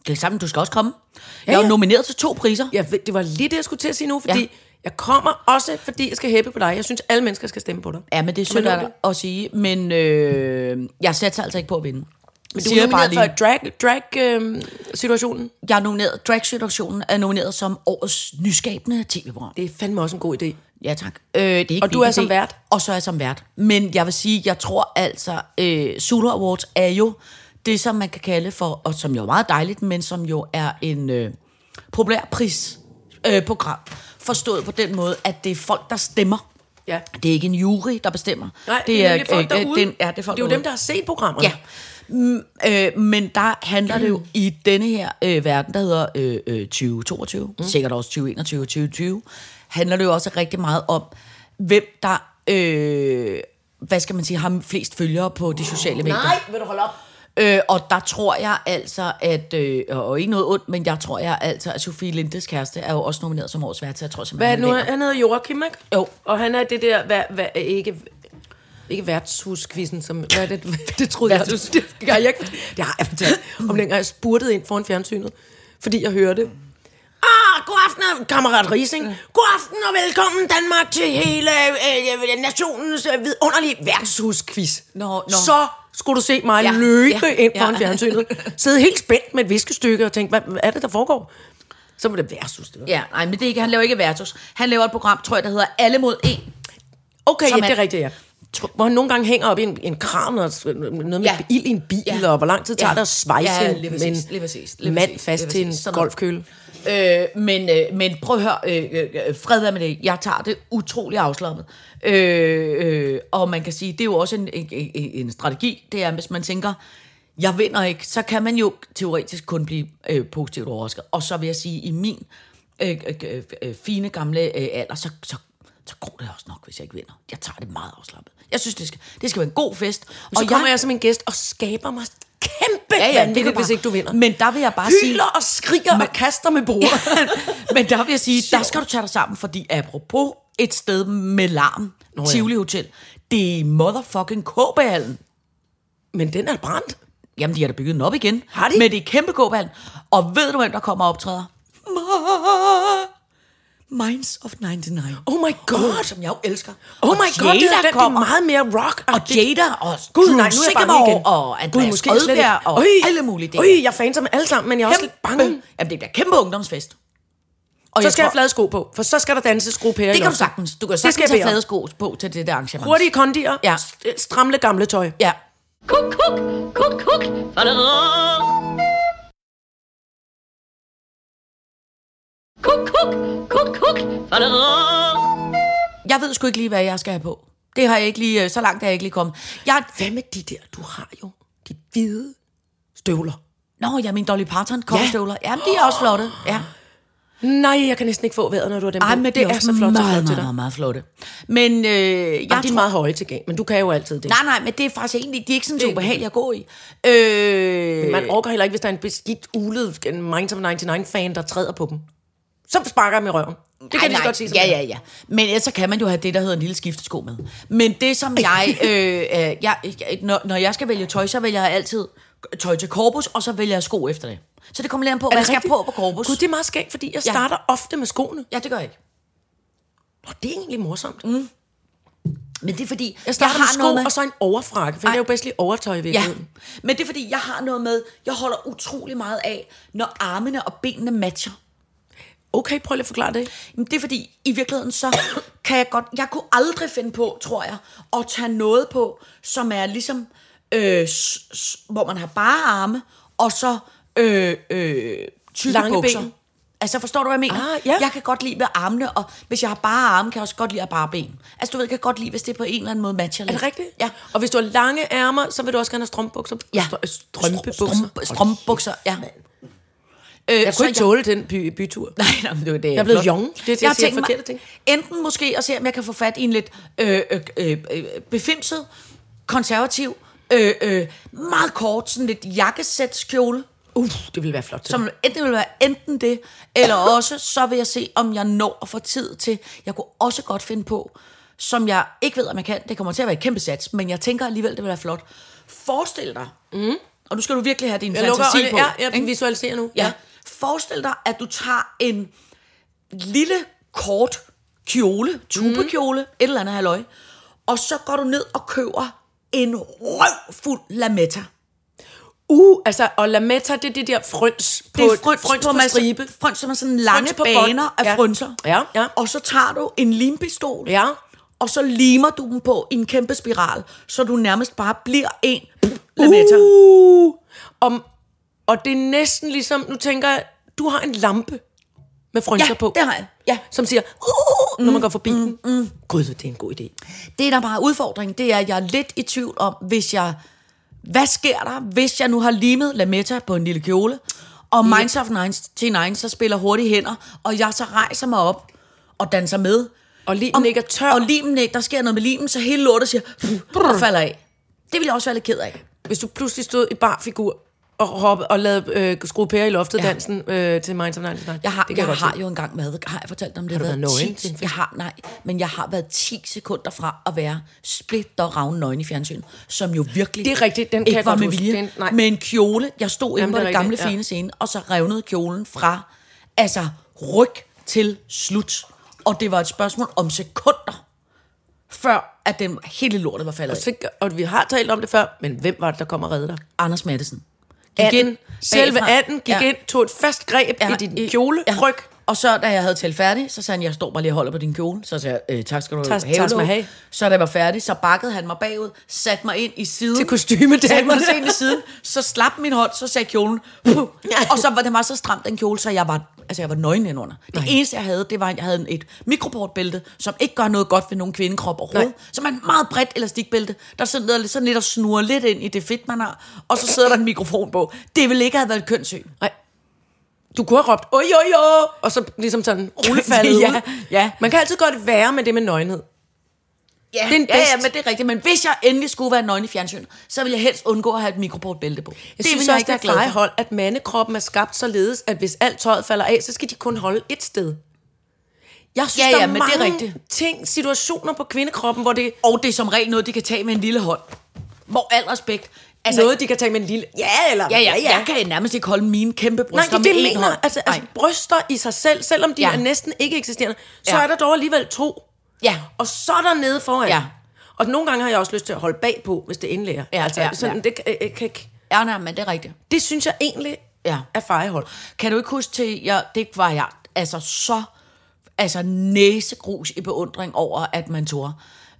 S4: Det er sammen, du skal også komme. Jeg er jo
S3: ja.
S4: nomineret til to priser.
S3: Jeg, ved- det var lige det, jeg skulle til at sige nu, fordi
S4: Ja.
S3: ja. jeg kommer også, fordi jeg skal hæppe på dig. Jeg synes, alle mennesker skal stemme på dig.
S4: Ja, men det er
S3: Men
S4: synd
S3: nu
S4: af
S3: er
S4: dig
S3: det-
S4: at sige, men øh, jeg satser altså ikke på at vinde. Men
S3: Du er nomineret for drag-situationen. Drag, øh, situationen.
S4: Jeg er nomineret, Drag-situationen er nomineret som årets nyskabende tv-program.
S3: det er fandme også en god idé.
S4: Ja, tak. Øh, det er ikke
S3: Og du
S4: min
S3: er som
S4: idé.
S3: vært?
S4: Og så er jeg som vært. Men jeg vil sige, jeg tror altså, øh, Zulu Awards er jo det, som man kan kalde for, og som jo er meget dejligt, men som jo er en øh, populær pris, øh, program. Forstået på den måde, at det er folk, der stemmer.
S3: Ja.
S4: Det er ikke en jury, der bestemmer.
S3: Nej, det er, det er folk
S4: øh, øh,
S3: derude.
S4: Den, ja, det er, folk
S3: det er jo
S4: derude.
S3: dem, der har set programmerne.
S4: Ja. Mm, øh, men der handler det jo i denne her øh, verden, der hedder øh, øh, 2022, mm. sikkert også 2021 2020, handler det jo også rigtig meget om, hvem der, øh, hvad skal man sige, har flest følgere på de sociale medier.
S3: Nej, vil du holde op?
S4: Øh, og der tror jeg altså, at, øh, og ikke noget ondt, men jeg tror jeg altså, at Sofie Lindes kæreste er jo også nomineret som årets vært, så jeg tror
S3: Hvad er
S4: simpelthen,
S3: det nu?
S4: han vinder.
S3: Han hedder Joachim, ikke?
S4: Jo.
S3: Og han er det der, hvad, hvad, ikke, ikke værtshuskvisten, som, hvad er det, [LAUGHS] det troede jeg,
S4: Værtshus-
S3: det, det, gør jeg ikke. det har jeg fortalt om dengang, jeg spurtede ind foran fjernsynet, fordi jeg hørte, Ah, god aften, kammerat Rising. God aften og velkommen Danmark til hele øh, øh, nationens øh, vidunderlige værtshusquiz.
S4: Nå, nå.
S3: Så skulle du se mig
S4: Ja,
S3: ja, løbe
S4: ja,
S3: ja, ind foran
S4: ja.
S3: ja. fjernsynet. Sidde helt spændt med et viskestykke og tænke, hvad, hvad er det, der foregår? Så var det værtshus, det var.
S4: Ja, nej, men det er ikke, han laver ikke værtus. Han laver et program, tror jeg, der hedder Alle mod En.
S3: Okay,
S4: Som
S3: ja, det
S4: er-
S3: er rigtigt, ja. Hvor han nogle gange hænger op i en, en kran og s- noget med
S4: Ja.
S3: ja. ild i en bil,
S4: Ja.
S3: ja. og hvor lang tid tager
S4: Ja.
S3: ja. det at svejse
S4: Ja,
S3: ja,
S4: lige
S3: en,
S4: præcis,
S3: en
S4: lige præcis, lige
S3: mand
S4: præcis,
S3: fast
S4: lige
S3: til en
S4: præcis. Sådan noget.
S3: golfkøle.
S4: Øh, men, øh, men prøv at høre, øh, øh, fred være med det. Jeg tager det utrolig afslappet. Øh, øh, og man kan sige, det er jo også en, en, en- en strategi, det er, hvis man tænker, jeg vinder ikke, så kan man jo teoretisk kun blive øh, positivt overrasket. Og så vil jeg sige, i min øh, øh, øh, øh, fine gamle øh, alder, så, så, så går det også nok, hvis jeg ikke vinder. Jeg tager det meget afslappet. Jeg synes, det skal, det skal være en god fest.
S3: Og så kommer jeg, som en gæst og skaber mig kæmpe ja, ja, vanvittigt,
S4: kan
S3: hvis ikke du vinder.
S4: Men der vil jeg bare sige...
S3: Hyler og skriger og kaster med bordet.
S4: Men der vil jeg sige, der skal du tage dig sammen, fordi apropos et sted med larm,
S3: ja.
S4: Nå, ja. Tivoli Hotel, det er i motherfucking KB-hallen.
S3: [LAUGHS] Men den er brændt.
S4: Jamen, de har da bygget den op igen.
S3: Har de?
S4: Men det er kæmpe kb -hallen. Og ved du, hvem der kommer og optræder? Ma- Minds of 99.
S3: Oh my god.
S4: Oh, som jeg jo elsker.
S3: Oh
S4: Og
S3: my god, det er,
S4: Jada
S3: den, det er meget mere rock.
S4: Og Jada og
S3: Gud,
S4: Drew
S3: nej, nu er jeg bange
S4: Sigamore
S3: igen.
S4: og Andreas
S3: Gud, måske er jeg slet
S4: Odbjerg
S3: ikke.
S4: og
S3: Øj,
S4: alle mulige. Det
S3: Øj,
S4: er
S3: jeg er fan som alle sammen, men jeg er også lidt bange.
S4: Kæmpe- Jamen, det bliver kæmpe ungdomsfest. Og
S3: Så skal jeg
S4: tror-
S3: have flade sko på, for så skal der danses gruppære.
S4: Det kan du sagtens. Du kan
S3: skal
S4: sagtens
S3: jeg
S4: have
S3: bede om.
S4: flade sko på til det der arrangement.
S3: Hurtige kondier,
S4: Ja.
S3: ja. stramle gamle tøj.
S4: Ja.
S2: Kuk, kuk, kuk, kuk. Faderød. Kuk, kuk, kuk, kuk. Faderød.
S4: Jeg ved sgu ikke lige, hvad jeg skal have på. Det har jeg ikke lige, øh, så langt er jeg ikke lige kommet. Jeg,
S3: Hvad med de der, du har jo de hvide støvler.
S4: nå, jeg mener Dolly Parton, koppestøvler. Ja. Jamen, de er også flotte. Ja.
S3: Nej, jeg kan næsten ikke få vejret, når du har dem på.
S4: Ej, men det,
S3: De er
S4: også
S3: så flot, så
S4: meget,
S3: flot til
S4: meget,
S3: dig.
S4: meget, meget flotte. Men øh, jeg
S3: Ej, de
S4: tror-
S3: er meget høje til gang, men du kan jo altid det.
S4: Nej, nej, men det er faktisk egentlig, de er ikke sådan så
S3: Det-
S4: ubehagelige at gå i. Øh,
S3: Man orker heller ikke, hvis der er en beskidt, ulet en Minds of 99-fan, der træder på dem. Så sparker jeg dem i røven. Det kan
S4: Ej,
S3: jeg lige så
S4: nej.
S3: godt sige. som
S4: Ja,
S3: det er.
S4: ja, ja. Men ellers så kan man jo have det, der hedder en lille skiftesko med. Men det, som jeg... øh, øh, jeg, jeg når, når jeg skal vælge tøj, så vælger jeg altid tøj til korpus, og så vælger jeg sko efter det. Så det kommer lidt an på, hvad
S3: Er
S4: jeg
S3: det
S4: skal
S3: rigtigt?
S4: på på korpus.
S3: Gud, det er meget skægt, fordi jeg
S4: Ja.
S3: starter ofte med skoene.
S4: Ja, det gør jeg ikke.
S3: Nå, det er egentlig morsomt. Mm.
S4: Men det er fordi,
S3: Jeg starter jeg med sko,
S4: noget
S3: med... og så en overfrakke, for
S4: Ej.
S3: det er jo bedst lige overtøj i
S4: Ja,
S3: virkeligheden.
S4: men det er fordi, jeg har noget med, jeg holder utrolig meget af, når armene og benene matcher.
S3: Okay, prøv lige at forklare det.
S4: Jamen, det er fordi, i virkeligheden, så kan jeg godt... Jeg kunne aldrig finde på, tror jeg, at tage noget på, som er ligesom... Øh, s- s- hvor man har bare arme, og så øh, øh, tykke
S3: Lange
S4: bukser.
S3: ben.
S4: Altså, forstår du, hvad jeg mener?
S3: Ah, ja.
S4: Jeg kan godt lide med armene, og hvis jeg har bare arme, kan jeg også godt lide at bare ben. Altså, du ved, jeg kan godt lide, hvis det på en eller anden måde matcher
S3: Er det rigtigt?
S4: Ja.
S3: Og hvis du har lange ærmer, så vil du også gerne have strømpebukser.
S4: Ja.
S3: øh, Strømpebukser.
S4: Strømpe, strømpebukser, ja. Øh,
S3: Jeg kunne ikke tåle den by, bytur.
S4: [LAUGHS] Nej, nej, men det er det.
S3: Jeg er blevet
S4: flot.
S3: young. Det er det, jeg
S4: har
S3: siger,
S4: tænkt mig
S3: forkerte ting.
S4: Enten måske at se, om jeg kan få fat i en lidt øh, øh, øh, øh, befimset, konservativ, øh, øh, meget kort, sådan lidt jakkesætskjole.
S3: Uh, det ville være flot til. Som,
S4: Som enten vil være enten det,
S3: [LAUGHS]
S4: eller også så vil jeg se, om jeg når at få tid til. Jeg kunne også godt finde på, som jeg ikke ved, om jeg kan. Det kommer til at være et kæmpe sats, men jeg tænker alligevel, det vil være flot. Forestil dig, mm. og nu skal du virkelig have din
S3: jeg lukker
S4: fantasi
S3: øjnene.
S4: på.
S3: Ja, jeg visualiserer nu.
S4: Ja. Forestil dig, at du tager en lille, kort kjole, tubekjole, mm. et eller andet halløj, og så går du ned og køber en røvfuld lametta.
S3: Uh, altså, og lametta, det er det der frøns på,
S4: det er fryns,
S3: frøns på,
S4: på, masse-
S3: stribe.
S4: Fryns, som er sådan lange
S3: Fryns
S4: frøns
S3: på
S4: på
S3: bånd.
S4: baner af
S3: Ja.
S4: ja. frynser.
S3: Ja, ja.
S4: Og så tager du en limpistol,
S3: Ja.
S4: og så limer du dem på i en kæmpe spiral, så du nærmest bare bliver en lametta. Uh.
S3: Uh, om, og det er næsten ligesom, nu tænker jeg, du har en lampe med frønser
S4: Ja,
S3: på.
S4: det har jeg. Ja.
S3: Som siger, uh, når man går forbi den. Gud, det er en god idé.
S4: Det, der bare er udfordringen, det er, at jeg er lidt i tvivl om, hvis jeg... Hvad sker der, hvis jeg nu har limet Lametta på en lille kjole, og Minds of 99 så spiller hurtigt hænder, og jeg så rejser mig op og danser med.
S3: Og limen ikke er tør.
S4: Og limen ikke, der sker noget med limen, så hele lortet siger, og falder af. Det vil jeg også være lidt ked af.
S3: Hvis du pludselig stod i bar figur og, hoppe, og lavede øh, skrue pære i loftet ja. dansen øh, til Minds of 99.
S4: Jeg har,
S3: det
S4: jeg
S3: godt
S4: har
S3: se.
S4: jo engang været, har jeg fortalt om det?
S3: Har du været nøgen til en
S4: 10,
S3: fest?
S4: jeg har, nej, men jeg har været 10 sekunder fra at være splitter ravne nøgen i fjernsyn, som jo virkelig
S3: Det er rigtigt, den kan jeg
S4: ikke var
S3: godt
S4: med
S3: huske.
S4: vilje.
S3: Den- nej.
S4: Med en kjole, jeg stod
S3: Jamen,
S4: inde på
S3: det er
S4: den gamle
S3: rigtigt, ja.
S4: fine scene, og så revnede kjolen fra, altså ryg til slut. Og det var et spørgsmål om sekunder, før at den hele lortet var faldet af.
S3: Så, og vi har talt om det før, men hvem var det, der kom og redde dig?
S4: Anders Mattesen.
S3: Gik ind, selve
S4: bagfra.
S3: anden gik ja. ind, tog et fast greb ja. i din kjole, ja. ryg.
S4: Og så, da jeg havde talt færdig, så sagde han, jeg står bare lige og holder på din kjole. Så sagde jeg, øh, tak skal du
S3: Tak- tak skal du
S4: Lov.
S3: have.
S4: Så da jeg var færdig, så bakkede han mig bagud, satte mig ind i siden.
S3: Til kostymedamen.
S4: Satte mig ind i siden, så slap min hånd, så sagde kjolen. Puh. Og så var det var så stramt, den kjole, så jeg var, altså jeg var nøgen indenunder. Det eneste, jeg havde, det var, at jeg havde et mikroportbælte, som ikke gør noget godt ved nogen kvindekrop overhovedet.
S3: Nej.
S4: Som er en meget bredt elastikbælte, der sådan, lidt- sådan lidt og snurrer lidt ind i det fedt, man har. Og så sidder der en mikrofon på. Det ville ikke have været et kønssyn.
S3: Nej. Du kunne have råbt, oj, oj, oj, og så ligesom sådan rullefaldet
S4: [LAUGHS] Ja,
S3: ud.
S4: ja.
S3: Man kan altid godt være med det med nøgenhed.
S4: Ja,
S3: Det er en
S4: ja,
S3: bedst.
S4: ja, men det er rigtigt. Men hvis jeg endelig skulle være nøgen i fjernsyn, så ville jeg helst undgå at have et mikroportbælte på.
S3: Jeg
S4: det
S3: synes
S4: vil
S3: også, det er
S4: være glad for.
S3: plejehold, at mandekroppen er skabt således, at hvis alt tøjet falder af, så skal de kun holde et sted. Jeg synes,
S4: Ja, ja,
S3: der er
S4: men det er
S3: mange
S4: rigtigt.
S3: ting, situationer på kvindekroppen, hvor det er
S4: Og det er som regel noget, de kan tage med en lille hånd. Hvor al respekt.
S3: altså, noget, de kan tage med en lille... Ja, eller...
S4: Ja, ja, ja. Jeg kan nærmest ikke holde mine kæmpe
S3: Nej,
S4: bryster
S3: det, er det
S4: med
S3: jeg
S4: en
S3: mener.
S4: hånd.
S3: Altså, altså,
S4: Nej.
S3: bryster i sig selv, selvom de ja.
S4: Ja.
S3: er næsten ikke eksisterende, så ja.
S4: Ja.
S3: er der dog alligevel to.
S4: Ja.
S3: Og så er der nede foran.
S4: Ja.
S3: Og nogle gange har jeg også lyst til at holde bag på, hvis det endelig er.
S4: Ja,
S3: altså,
S4: ja,
S3: sådan,
S4: ja.
S3: Det, kan- øh, kan ikke-
S4: Ja, nej, men det er rigtigt.
S3: det synes jeg egentlig
S4: Ja.
S3: er fejehold.
S4: Kan du ikke huske til, jeg, det var jeg altså så altså næsegrus i beundring over, at man tog.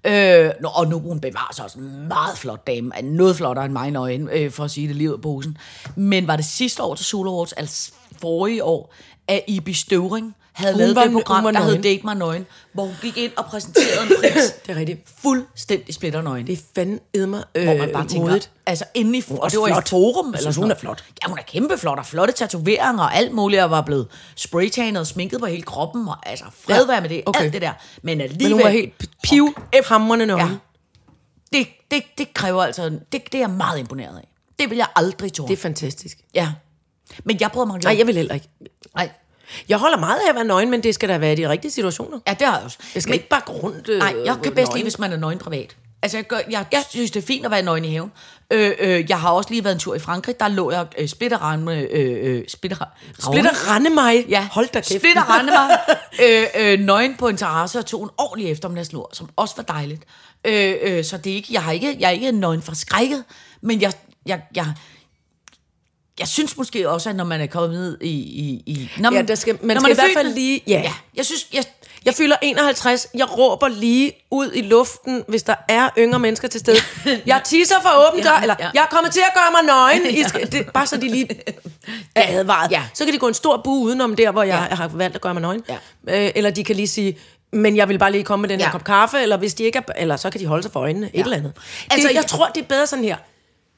S4: Øh, nå, og nu hun bevarer sig også en meget flot dame, er noget flottere end mig nøgen, øh, for at sige det lige ud af posen. Men var det sidste år til Solo Awards, altså forrige år, at Ibi Støvring havde
S3: Hun
S4: lavet
S3: var-
S4: det program,
S3: hun var
S4: der hed
S3: nøgen.
S4: Date Mig Nøgen, hvor hun gik ind og præsenterede en pris
S3: [COUGHS] Det er rigtigt.
S4: fuldstændig splitternøgen.
S3: Det er fandme øh,
S4: Hvor man bare tænker,
S3: modigt.
S4: altså inden i, og
S3: også
S4: det var
S3: flot.
S4: i Forum, eller
S3: synes,
S4: sådan
S3: hun er
S4: noget.
S3: flot.
S4: Ja, hun er kæmpe flot, og flotte tatoveringer og alt muligt, og var blevet spraytanet og sminket på hele kroppen, og altså fred
S3: Ja,
S4: være med det,
S3: okay.
S4: okay. alt det der. Men alligevel,
S3: Men hun var helt piv, hamrende nøgen.
S4: ja, det, det, det kræver altså, det, det er jeg meget imponeret af. Det vil jeg aldrig tåle.
S3: Det er fantastisk.
S4: ja. Men jeg prøver mig
S3: Nej, jeg vil heller ikke.
S4: Nej,
S3: Jeg holder meget af at være nøgen, men det skal da være i de rigtige situationer.
S4: ja, det har jeg også.
S3: Jeg skal
S4: Men-
S3: ikke bare gå rundt øh,
S4: Nej, jeg kan bedst
S3: nøgen.
S4: lide, hvis man er nøgen privat. Altså, jeg, gør, jeg ja. synes, det er fint at være nøgen i haven. Øh, øh, jeg har også lige været en tur i Frankrig. Der lå jeg øh, splitterrende... Øh, øh, splitter,
S3: Splitter rende mig.
S4: Ja,
S3: Hold da kæft.
S4: splitterrende mig. [LAUGHS] øh, øh, nøgen på en terrasse og tog en ordentlig eftermiddagslur, som også var dejligt. Øh, øh, så det er ikke, jeg, har ikke, jeg er ikke nøgen for skrækket, men jeg, jeg, jeg, jeg synes måske også, at når man er kommet ned i... i, i når
S3: Ja, der skal- man skal i hvert fald lige- ja.
S4: Ja. ja. Jeg synes, jeg,
S3: Jeg fylder 51. Jeg råber lige ud i luften, hvis der er yngre mennesker til
S4: [LAUGHS]
S3: stede. Jeg tisser for åben dør,
S4: Ja,
S3: eller
S4: ja.
S3: jeg er kommet til at gøre mig
S4: [LAUGHS]
S3: nøgen. I skal, det, bare så de lige er advaret.
S4: Ja.
S3: Så kan de gå en stor bue udenom der, hvor jeg
S4: Ja.
S3: har valgt at gøre mig nøgen.
S4: Ja.
S3: Øh, eller de kan lige sige, men jeg vil bare lige komme med den her
S4: Ja.
S3: kop kaffe, eller hvis de ikke er, eller så kan de holde sig for øjnene, ja. et eller andet. Altså,
S4: Altså,
S3: det, jeg
S4: jeg-
S3: tror, det er bedre sådan her.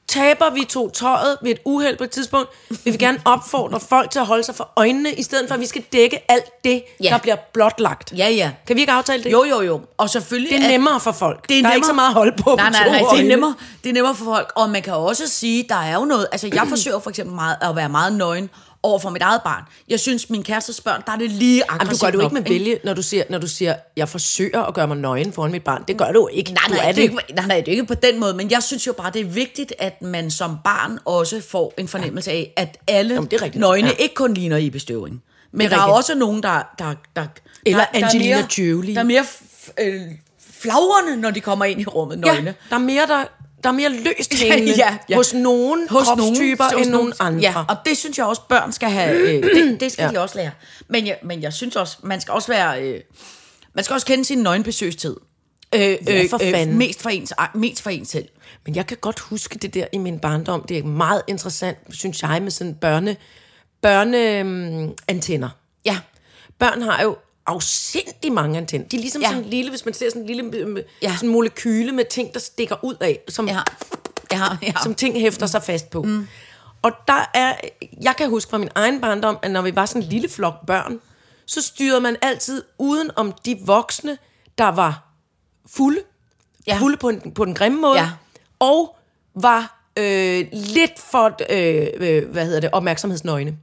S3: Taber vi to tøjet ved et uheld på et tidspunkt, vil vi gerne opfordre folk til at holde sig for øjnene, i stedet for at vi skal dække alt det,
S4: Ja.
S3: ja. der bliver blotlagt.
S4: Ja, ja.
S3: Kan vi ikke aftale det?
S4: Jo, jo, jo. Og selvfølgelig...
S3: Det er nemmere for folk.
S4: Det er
S3: der er
S4: nemmere.
S3: ikke så meget at holde på.
S4: nej,
S3: med
S4: nej,
S3: to
S4: nej, det er
S3: øjne.
S4: nemmere, det er nemmere for folk. Og man kan også sige, der er jo noget... Altså, jeg forsøger for eksempel meget, at være meget nøgen over for mit eget barn. Jeg synes, min kærestes børn, der er det lige aggressivt
S3: Jamen, du gør det jo ikke med
S4: nok,
S3: vilje, når du, siger, når du siger, jeg forsøger at gøre mig nøgen foran mit barn. Det gør du jo ikke.
S4: Nej,
S3: du
S4: nej,
S3: er
S4: det er ikke, nej, nej, det er ikke på den måde, men jeg synes jo bare, det er vigtigt, at man som barn også får en fornemmelse af, at alle
S3: Jamen, det er rigtigt.
S4: nøgne ja.
S3: Ja.
S4: ikke kun ligner i bestøvning. Men
S3: Det
S4: der
S3: er
S4: er
S3: rigtigt.
S4: også nogen, der... der, der
S3: Eller
S4: der, der
S3: Angelina
S4: er mere,
S3: Jolie.
S4: Der er mere f- øh, flagrende, når de kommer ind i rummet, nøgne.
S3: Ja, der er mere, der, der er mere løst hængende
S4: [LAUGHS] ja, ja.
S3: hos nogen hos kropstyper
S4: nogen-
S3: nogen, end nogen
S4: nogen-
S3: andre.
S4: Ja, og det synes jeg også, børn skal have. Øh, det,
S3: [CLEARS THROAT]
S4: det skal ja.
S3: Ja.
S4: de også lære. Men jeg, men jeg synes også, man skal også være... Øh, man skal også kende sin nøgenbesøgstid. Øh,
S3: Ja, for fanden.
S4: mest, for ens, mest for ens selv.
S3: Men jeg kan godt huske det der i min barndom. Det er meget interessant, synes jeg, med sådan børne, børneantenner.
S4: Ja.
S3: Børn har jo afsindig mange antenner. De er ligesom
S4: Ja.
S3: ja. sådan en lille, hvis man ser sådan en lille øh,
S4: Ja.
S3: ja. sådan en molekyle med ting, der stikker ud af, som
S4: Ja. Ja, ja.
S3: som ting hæfter sig fast på. Mm. Og der er, jeg kan huske fra min egen barndom, at når vi var sådan en lille flok børn, så styrede man altid uden om de voksne, der var fulde,
S4: Ja.
S3: ja. fulde på, en, på den grimme måde,
S4: Ja.
S3: ja. og var øh, lidt for, øh, øh, hvad hedder det, opmærksomhedsnøgne.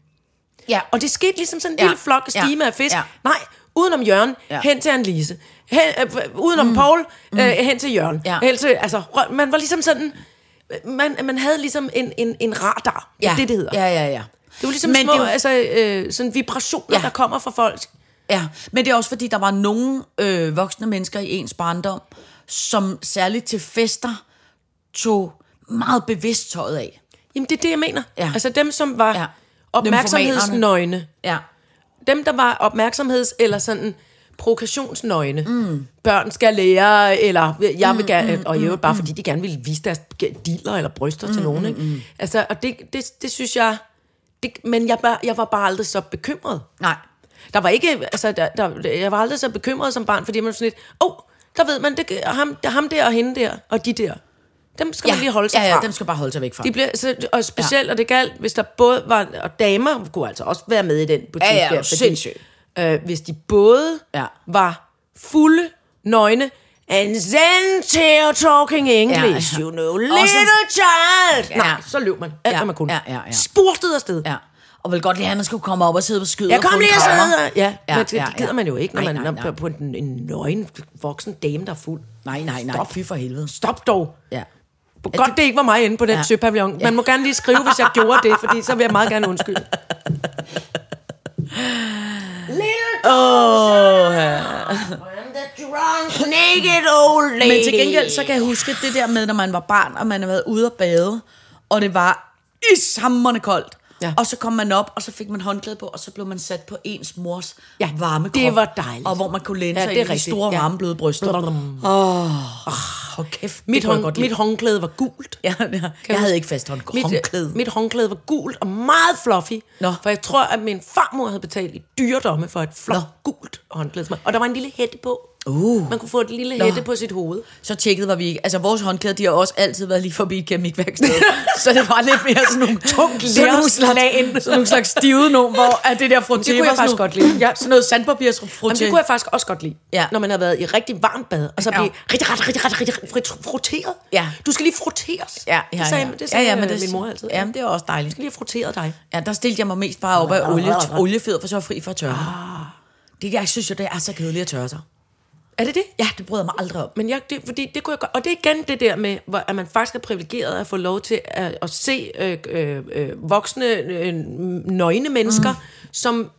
S4: ja.
S3: Og det skete ligesom sådan en
S4: Ja,
S3: ja. lille flok
S4: ja,
S3: stime af fisk.
S4: ja.
S3: Ja. Nej, udenom Jørgen,
S4: Ja.
S3: ja. hen til Anne-Lise. Hen, øh, udenom mm. Paul, øh, hen til Jørgen.
S4: Ja.
S3: Ja. Hen til, altså, rø- man var ligesom sådan... Man, man havde ligesom en, en, en radar. Ja. Det er det, det hedder.
S4: Ja, ja, ja.
S3: Det var ligesom
S4: Men
S3: Men små
S4: det er jo-
S3: altså, øh, sådan vibrationer,
S4: Ja.
S3: ja. der kommer fra folk.
S4: Ja, men det er også fordi, der var nogle øh, voksne mennesker i ens barndom, som særligt til fester tog meget bevidst tøjet af.
S3: Jamen, det er det, jeg mener.
S4: Ja.
S3: Altså dem, som var
S4: Ja.
S3: ja.
S4: Dem
S3: opmærksomhedsnøgne.
S4: Ja.
S3: dem, der var opmærksomheds- eller sådan provokationsnøgne. Mm. Børn skal lære, eller jeg vil gerne, og i øvrigt bare fordi de gerne ville vise deres diller eller bryster mm, til nogen. Ikke? Altså, og det, det, det synes jeg, det, men jeg, var- jeg var bare aldrig så bekymret.
S4: Nej.
S3: Der var ikke, altså, der, der, jeg var aldrig så bekymret som barn, fordi man var sådan lidt, åh, oh, der ved man, det, ham, ham der og hende der, og de der. Dem skal ja, man lige holde sig
S4: ja, ja,
S3: fra.
S4: dem skal bare holde sig væk fra.
S3: De bliver, så, og specielt, ja. og det galt, hvis der både var, og damer kunne altså også være med i den butik
S4: Ja, ja,
S3: der,
S4: sindssygt.
S3: øh, hvis de både
S4: Ja.
S3: ja. var fulde, nøgne, and then they're talking English,
S4: Ja,
S3: ja,
S4: ja.
S3: ja. you know,
S4: Og så-
S3: little child.
S4: Ja.
S3: Ja. Nej, så løb man alt,
S4: Ja,
S3: hvad man kunne.
S4: ja, ja, ja.
S3: Spurtet afsted.
S4: Ja. Og vil godt lige have, at man skulle komme op og sidde på skyder.
S3: Jeg kom lige og sad. Ja,
S4: Ja,
S3: ja, men det,
S4: ja,
S3: det gider
S4: ja.
S3: man jo ikke, når
S4: Nej,
S3: man
S4: nej,
S3: er
S4: nej.
S3: på- på en, en nøgen voksen dame, der er fuld.
S4: Nej, nej, nej.
S3: Stop.
S4: Fy for helvede.
S3: Stop dog.
S4: Ja.
S3: Godt, det ikke var mig inde på den
S4: Ja.
S3: ja. søpavillon. Man må gerne lige skrive, hvis jeg gjorde det, fordi så vil jeg meget gerne
S4: [LAUGHS]
S3: undskylde.
S4: Men til gengæld, så kan jeg huske det der med, når man var barn, og man havde været ude at bade, og det var ishammerne koldt. Ja.
S3: Ja.
S4: Og så kom man op, og så fik man håndklæde på, og så blev man sat på ens mors ja,
S3: Ja,
S4: varme krop.
S3: det var dejligt.
S4: Og hvor man kunne læne
S3: Ja,
S4: ja, sig
S3: det er
S4: i de
S3: rigtigt.
S4: store,
S3: Ja.
S4: varme, bløde bryster. Åh,
S3: Blum.
S4: oh, kæft,
S3: Mit,
S4: det kunne jeg
S3: hånd,
S4: godt
S3: mit
S4: lide.
S3: håndklæde var gult.
S4: Ja, ja.
S3: Kan
S4: Jeg
S3: du
S4: havde
S3: huske?
S4: ikke fast hånd,
S3: Mit,
S4: håndklæde.
S3: mit håndklæde var gult og meget fluffy.
S4: Nå.
S3: For jeg tror, at min farmor havde betalt i dyredomme for et flot
S4: Nå.
S3: Nå. gult håndklæde. til mig. Og der var en lille hætte på. Uh. Man kunne få et lille
S4: Nå.
S3: hætte på sit hoved.
S4: Så tjekkede var vi ikke. Altså, vores håndklæder, de har også altid været lige forbi et [LAUGHS] keramikværksted. så det var lidt mere sådan nogle tungt sådan nogle slags,
S3: lerslagen.
S4: sådan nogle slags stive nogen, hvor at det der frotté
S3: kunne jeg
S4: var sådan
S3: faktisk
S4: nogle-
S3: godt lide.
S4: Ja, sådan noget sandpapir frotté.
S3: Jamen, det kunne jeg faktisk også godt lide,
S4: Ja.
S3: når man har været i rigtig varmt bad, og så
S4: Ja.
S3: blive rigtig, rigtig, rigtig, rigtig, rigtig frit- frotteret.
S4: Ja.
S3: Du skal lige frotteres.
S4: Ja, ja,
S3: det sagde,
S4: ja.
S3: Det sagde
S4: ja, ja,
S3: øh,
S4: det-
S3: min mor altid.
S4: Ja, men det er også
S3: Du
S4: dejligt.
S3: skal lige have frotteret dig.
S4: Ja, der stillede jeg mig mest bare op af olie, oliefed, for så er jeg fri fra tørre. Ah. Det, jeg synes jo, det er så kedeligt at tørre sig.
S3: Er det det?
S4: Ja, det bryder jeg mig aldrig om.
S3: Men jeg, det, fordi det kunne jeg godt, og det er igen det der med, hvor, at man faktisk er privilegeret at få lov til at, at se øh, øh, øh, voksne, øh, nøgne mennesker, mm. som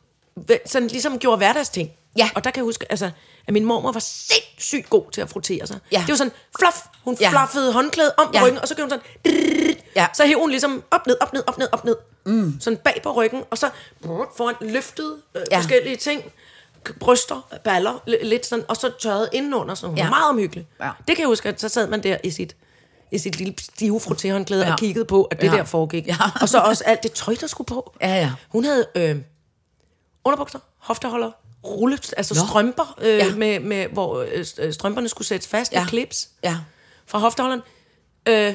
S3: væ- sådan ligesom gjorde hverdagsting.
S4: Ja.
S3: Og der kan jeg huske, altså, at min mormor var sindssygt god til at frottere sig.
S4: Ja.
S3: Det var sådan, fluff, hun ja.
S4: Ja.
S3: fluffede håndklædet om
S4: Ja.
S3: ja. ryggen, og så gjorde hun sådan,
S4: Ja.
S3: så hævde hun ligesom op, ned, op, ned, op, ned, op, ned. Mm. Sådan bag på ryggen, og så brrr, foran løftede øh,
S4: Ja.
S3: ja. forskellige ting. K- Bryster, baller, l- lidt sådan, og så tørret indenunder, så hun
S4: Ja.
S3: ja. meget omhyggelig.
S4: Ja.
S3: Det kan jeg huske, at så sad man der i sit, i sit lille stive frottéhåndklæde
S4: Ja.
S3: ja. og kiggede på, at det
S4: Ja.
S3: ja. der foregik.
S4: Ja.
S3: Og så også alt det tøj, der skulle på.
S4: Ja, ja.
S3: Hun havde øh, underbukser, hofteholder, rulle, altså
S4: Nå.
S3: Nå. strømper, øh,
S4: Ja.
S3: ja. med, med, hvor øh, strømperne skulle sættes fast
S4: Ja.
S3: ja. med clips
S4: Ja.
S3: fra hofteholderen. Øh,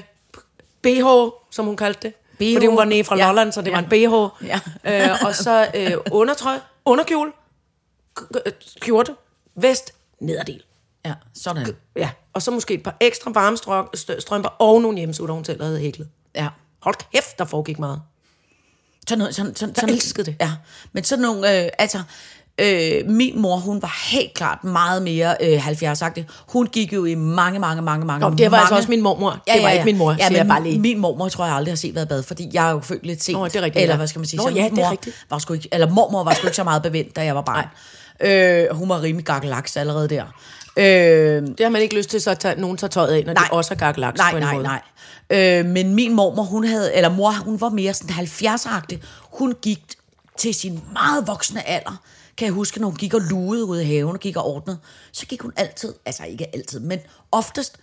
S3: BH, som hun kaldte det.
S4: BH.
S3: Fordi hun var nede fra
S4: Ja.
S3: ja. Lolland, så det
S4: Ja.
S3: ja. var en BH.
S4: Ja.
S3: øh, og så øh, undertrøj, underkjole, k- k- øh, skjorte, vest, nederdel.
S4: Ja, sådan.
S3: Ja, og så måske et par ekstra varme strøm- stø- strømper og nogle hjemmesutter, hun selv havde hæklet.
S4: Ja.
S3: Hold kæft, der foregik meget.
S4: Sådan noget, sådan, sådan, sådan,
S3: elskede det.
S4: Ja, men sådan nogle, øh, altså, øh, min mor, hun var helt klart meget mere øh, 70-agtig. Hun gik jo i mange, mange, mange, mange,
S3: Nå, det var
S4: mange...
S3: altså også min mormor. Det var ikke min mor,
S4: ja,
S3: siger jeg bare lige.
S4: Min mormor tror jeg aldrig har set været i bad, fordi jeg er jo født lidt sent.
S3: Nå, det er rigtigt,
S4: Eller
S3: ja.
S4: hvad skal man sige?
S3: Nå,
S4: så
S3: ja,
S4: min
S3: det er
S4: mor
S3: rigtigt.
S4: Var sgu ikke, eller mormor var sgu ikke så meget bevendt, da jeg var barn. Øh, hun var rimelig gakkelaks allerede der. Øh,
S3: Det har man ikke lyst til, så at tage, nogen tager tøjet af, når nej. de også har gakkelaks på
S4: Nej,
S3: en
S4: nej,
S3: måde.
S4: nej. Øh, men min mormor, hun havde, eller mor, hun var mere sådan 70-agtig. Hun gik til sin meget voksne alder, kan jeg huske, når hun gik og lugede ude i haven og gik og ordnede, så gik hun altid, altså ikke altid, men oftest,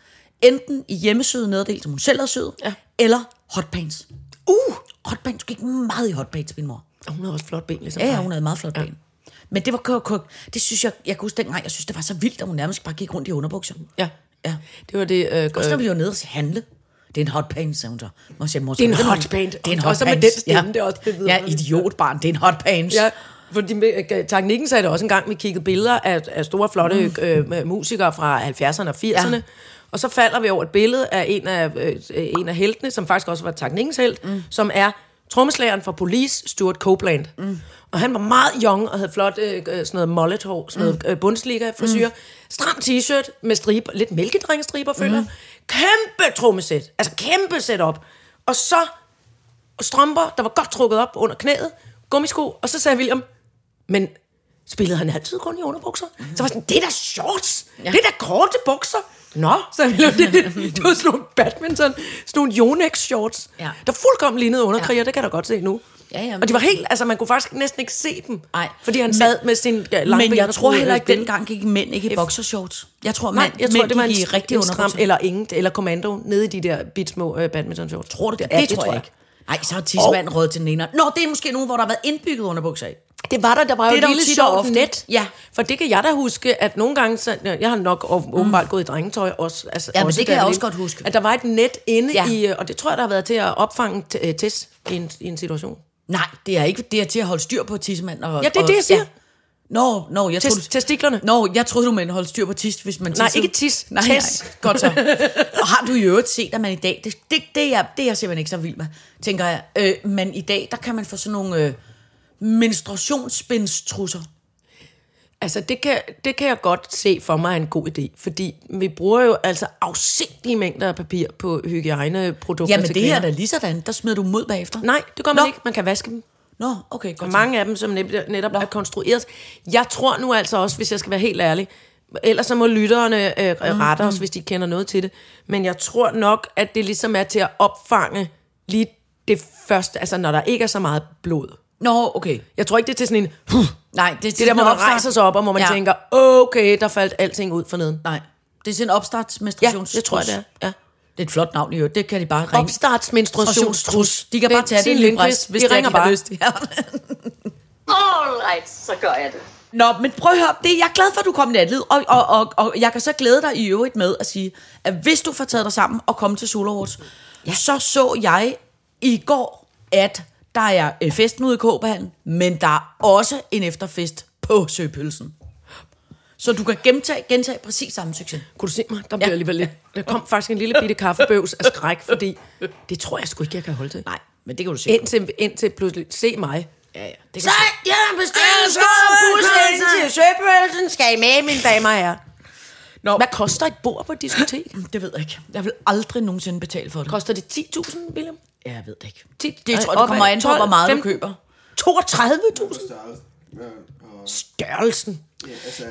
S4: enten i hjemmesyet nederdel, som hun selv havde syet, ja. eller hotpants. Uh! Hotpants, hun gik meget i hotpants, min mor.
S3: Og hun har også flot ben, ligesom
S4: Ja, ja,
S3: dig.
S4: hun havde meget flot ja. ben. Men det var kok, kok. Det synes jeg, jeg kan huske dengang, jeg synes, det var så vildt, at hun nærmest bare gik rundt i underbukser.
S3: Ja.
S4: Ja.
S3: Det var det... Øh,
S4: Og så vi jo nede og sige, handle. Det er en hot pants, sagde hun så. Må jeg sige, mor,
S3: Det er en
S4: så-
S3: hot pant.
S4: Det er en hot
S3: Og så med
S4: pants.
S3: den stemme, det er også lidt
S4: Ja,
S3: vidunderligt.
S4: idiot barn, det er en hot pants.
S3: Ja, fordi med- øh, teknikken sagde det også en gang, vi kiggede billeder af, af store, flotte mm. øh, musikere fra 70'erne og 80'erne.
S4: Ja.
S3: Ja. Og så falder vi over et billede af en af, øh, øh, en af heltene, som faktisk også var teknikkens held, mm. som er trommeslageren for Police, Stuart Copeland. Mm. Og han var meget young og havde flot øh, øh, sådan noget mullet-hår, sådan noget øh, bundslikker-frisyr. Mm. Stram t-shirt med striber, lidt mælkedrengestriber, føler mm. Kæmpe trommesæt, altså kæmpe setup. Og så strømper, der var godt trukket op under knæet, gummisko, og så sagde William, men spillede han altid kun i underbukser? Så var jeg sådan, det er da shorts, ja. det er da korte bukser. Nå, så William, det, det, det var sådan nogle badminton, sådan nogle Yonex shorts,
S4: Ja.
S3: ja. der fuldkommen lignede underkriger, ja. det kan jeg da godt se nu.
S4: Ja, ja, men-
S3: og de var helt, altså man kunne faktisk næsten ikke se dem,
S4: Nej.
S3: fordi han
S4: Men-
S3: sad med sin ja, lange
S4: Men
S3: ben
S4: jeg
S3: og
S4: tror
S3: troede,
S4: heller
S3: at
S4: ikke,
S3: spille.
S4: dengang gik mænd ikke i boxershorts. Jeg tror,
S3: Nej,
S4: mænd,
S3: jeg tror,
S4: mænd
S3: det var en,
S4: gik i
S3: rigtig
S4: rigtig
S3: en stram,
S4: underbukser.
S3: eller ingen, eller kommando, nede i de der bit små øh, badminton shorts.
S4: Tror du det?
S3: Ja,
S4: det, tror jeg ikke. Nej, så har tissemand rød til den ene. Nå, det er måske nogen, hvor der har været indbygget underbukser i.
S3: Det var der, der var
S4: Det
S3: det jo
S4: er der
S3: et
S4: jo
S3: lille
S4: tit og
S3: sjovt
S4: ofte.
S3: net.
S4: Ja.
S3: For det kan jeg da huske, at nogle gange, så, jeg har nok åb- åbenbart mm. gået i drengetøj også. Altså,
S4: Ja, men
S3: også
S4: det kan
S3: da
S4: jeg
S3: var
S4: også
S3: lille.
S4: godt huske.
S3: At der var et net inde
S4: Ja.
S3: ja. i, øh, og det tror jeg, der har været til at opfange t- øh, Tess i en, i en situation.
S4: Nej, det er ikke det er til at holde styr på tissemand. Og,
S3: Ja, det er
S4: og-
S3: det, jeg siger.
S4: Nå, nå, jeg
S3: Test-
S4: troede...
S3: testiklerne.
S4: Nå, jeg troede, du mente holde styr på tis, hvis man
S3: Nej,
S4: tissede.
S3: ikke tis.
S4: Nej,
S3: Tess.
S4: nej. Godt så. Og har du i øvrigt set, at man i dag... Det, det, det, er, jeg- det er jeg simpelthen ikke så vild med, tænker jeg. Øh, men i dag, der kan man få sådan nogle øh, menstruationsspindstrusser.
S3: Altså, det kan, det kan jeg godt se for mig er en god idé, fordi vi bruger jo altså afsindige mængder af papir på hygiejneprodukter
S4: Jamen,
S3: til
S4: det her
S3: kvinder.
S4: er da lige sådan. Altså Der smider du dem ud bagefter.
S3: Nej, det gør man
S4: Nå.
S3: Nå. ikke. Man kan vaske dem.
S4: Nå, okay, godt
S3: Og
S4: så.
S3: mange af dem, som net- netop er konstrueret. Jeg tror nu altså også, hvis jeg skal være helt ærlig, ellers så må lytterne øh, rette os, hvis de kender noget til det, men jeg tror nok, at det ligesom er til at opfange lige det første, altså når der ikke er så meget blod.
S4: Nå, okay.
S3: Jeg tror ikke, det er til sådan en... Huh,
S4: Nej, det,
S3: det der, hvor man rejser sig op, og hvor man
S4: Ja.
S3: ja. tænker, okay, der faldt alting ud for neden.
S4: Nej, det er sådan en
S3: Ja,
S4: opstartsmenstruationstrus.
S3: det tror jeg, det er. Ja.
S4: Det er et flot navn i øvrigt. Det kan de bare ringe.
S3: Opstartsmenstruationstrus.
S4: De kan bare tage det i
S3: Signe
S4: en
S3: Lindqvist,
S4: brist, hvis
S3: de
S4: det er,
S3: ringer
S4: de har
S3: bare.
S4: lyst. [LAUGHS] Ja.
S2: All right, så gør jeg det.
S4: Nå, men prøv at høre, det, jeg er glad for, at du kom natlid, og, og, og, og jeg kan så glæde dig i øvrigt med at sige, at hvis du får taget dig sammen og komme til Solarhorts, ja. så så jeg i går, at der er øh, festen ude i Kåbehallen, men der er også en efterfest på Søpølsen. Så du kan gentage, gentage præcis samme succes.
S3: Kunne du se mig? Der blev ja. alligevel lidt... Der kom faktisk en lille bitte kaffebøvs af skræk, fordi det tror jeg sgu ikke, jeg kan holde til.
S4: Nej, men det kan du se.
S3: Indtil, indtil pludselig, se mig.
S4: ja, ja, det kan
S3: Så
S4: du se.
S3: jeg har bestilt en skål pulse ind til søpølsen. Skal I med, mine damer og herrer?
S4: Nå,
S3: Hvad koster et bord på et diskotek?
S4: [CLEARS THROAT] det ved jeg ikke. Jeg vil aldrig nogensinde betale for det.
S3: Koster det 10.000, William?
S4: Ja, jeg ved det ikke.
S3: Ti-
S4: Det
S3: Ej,
S4: tror jeg, det
S3: op
S4: kommer
S3: ad
S4: an på, hvor
S3: 12,
S4: meget du
S3: 15.
S4: køber.
S3: 32.000?
S5: størrelsen. Ja, og
S3: Størrelsen.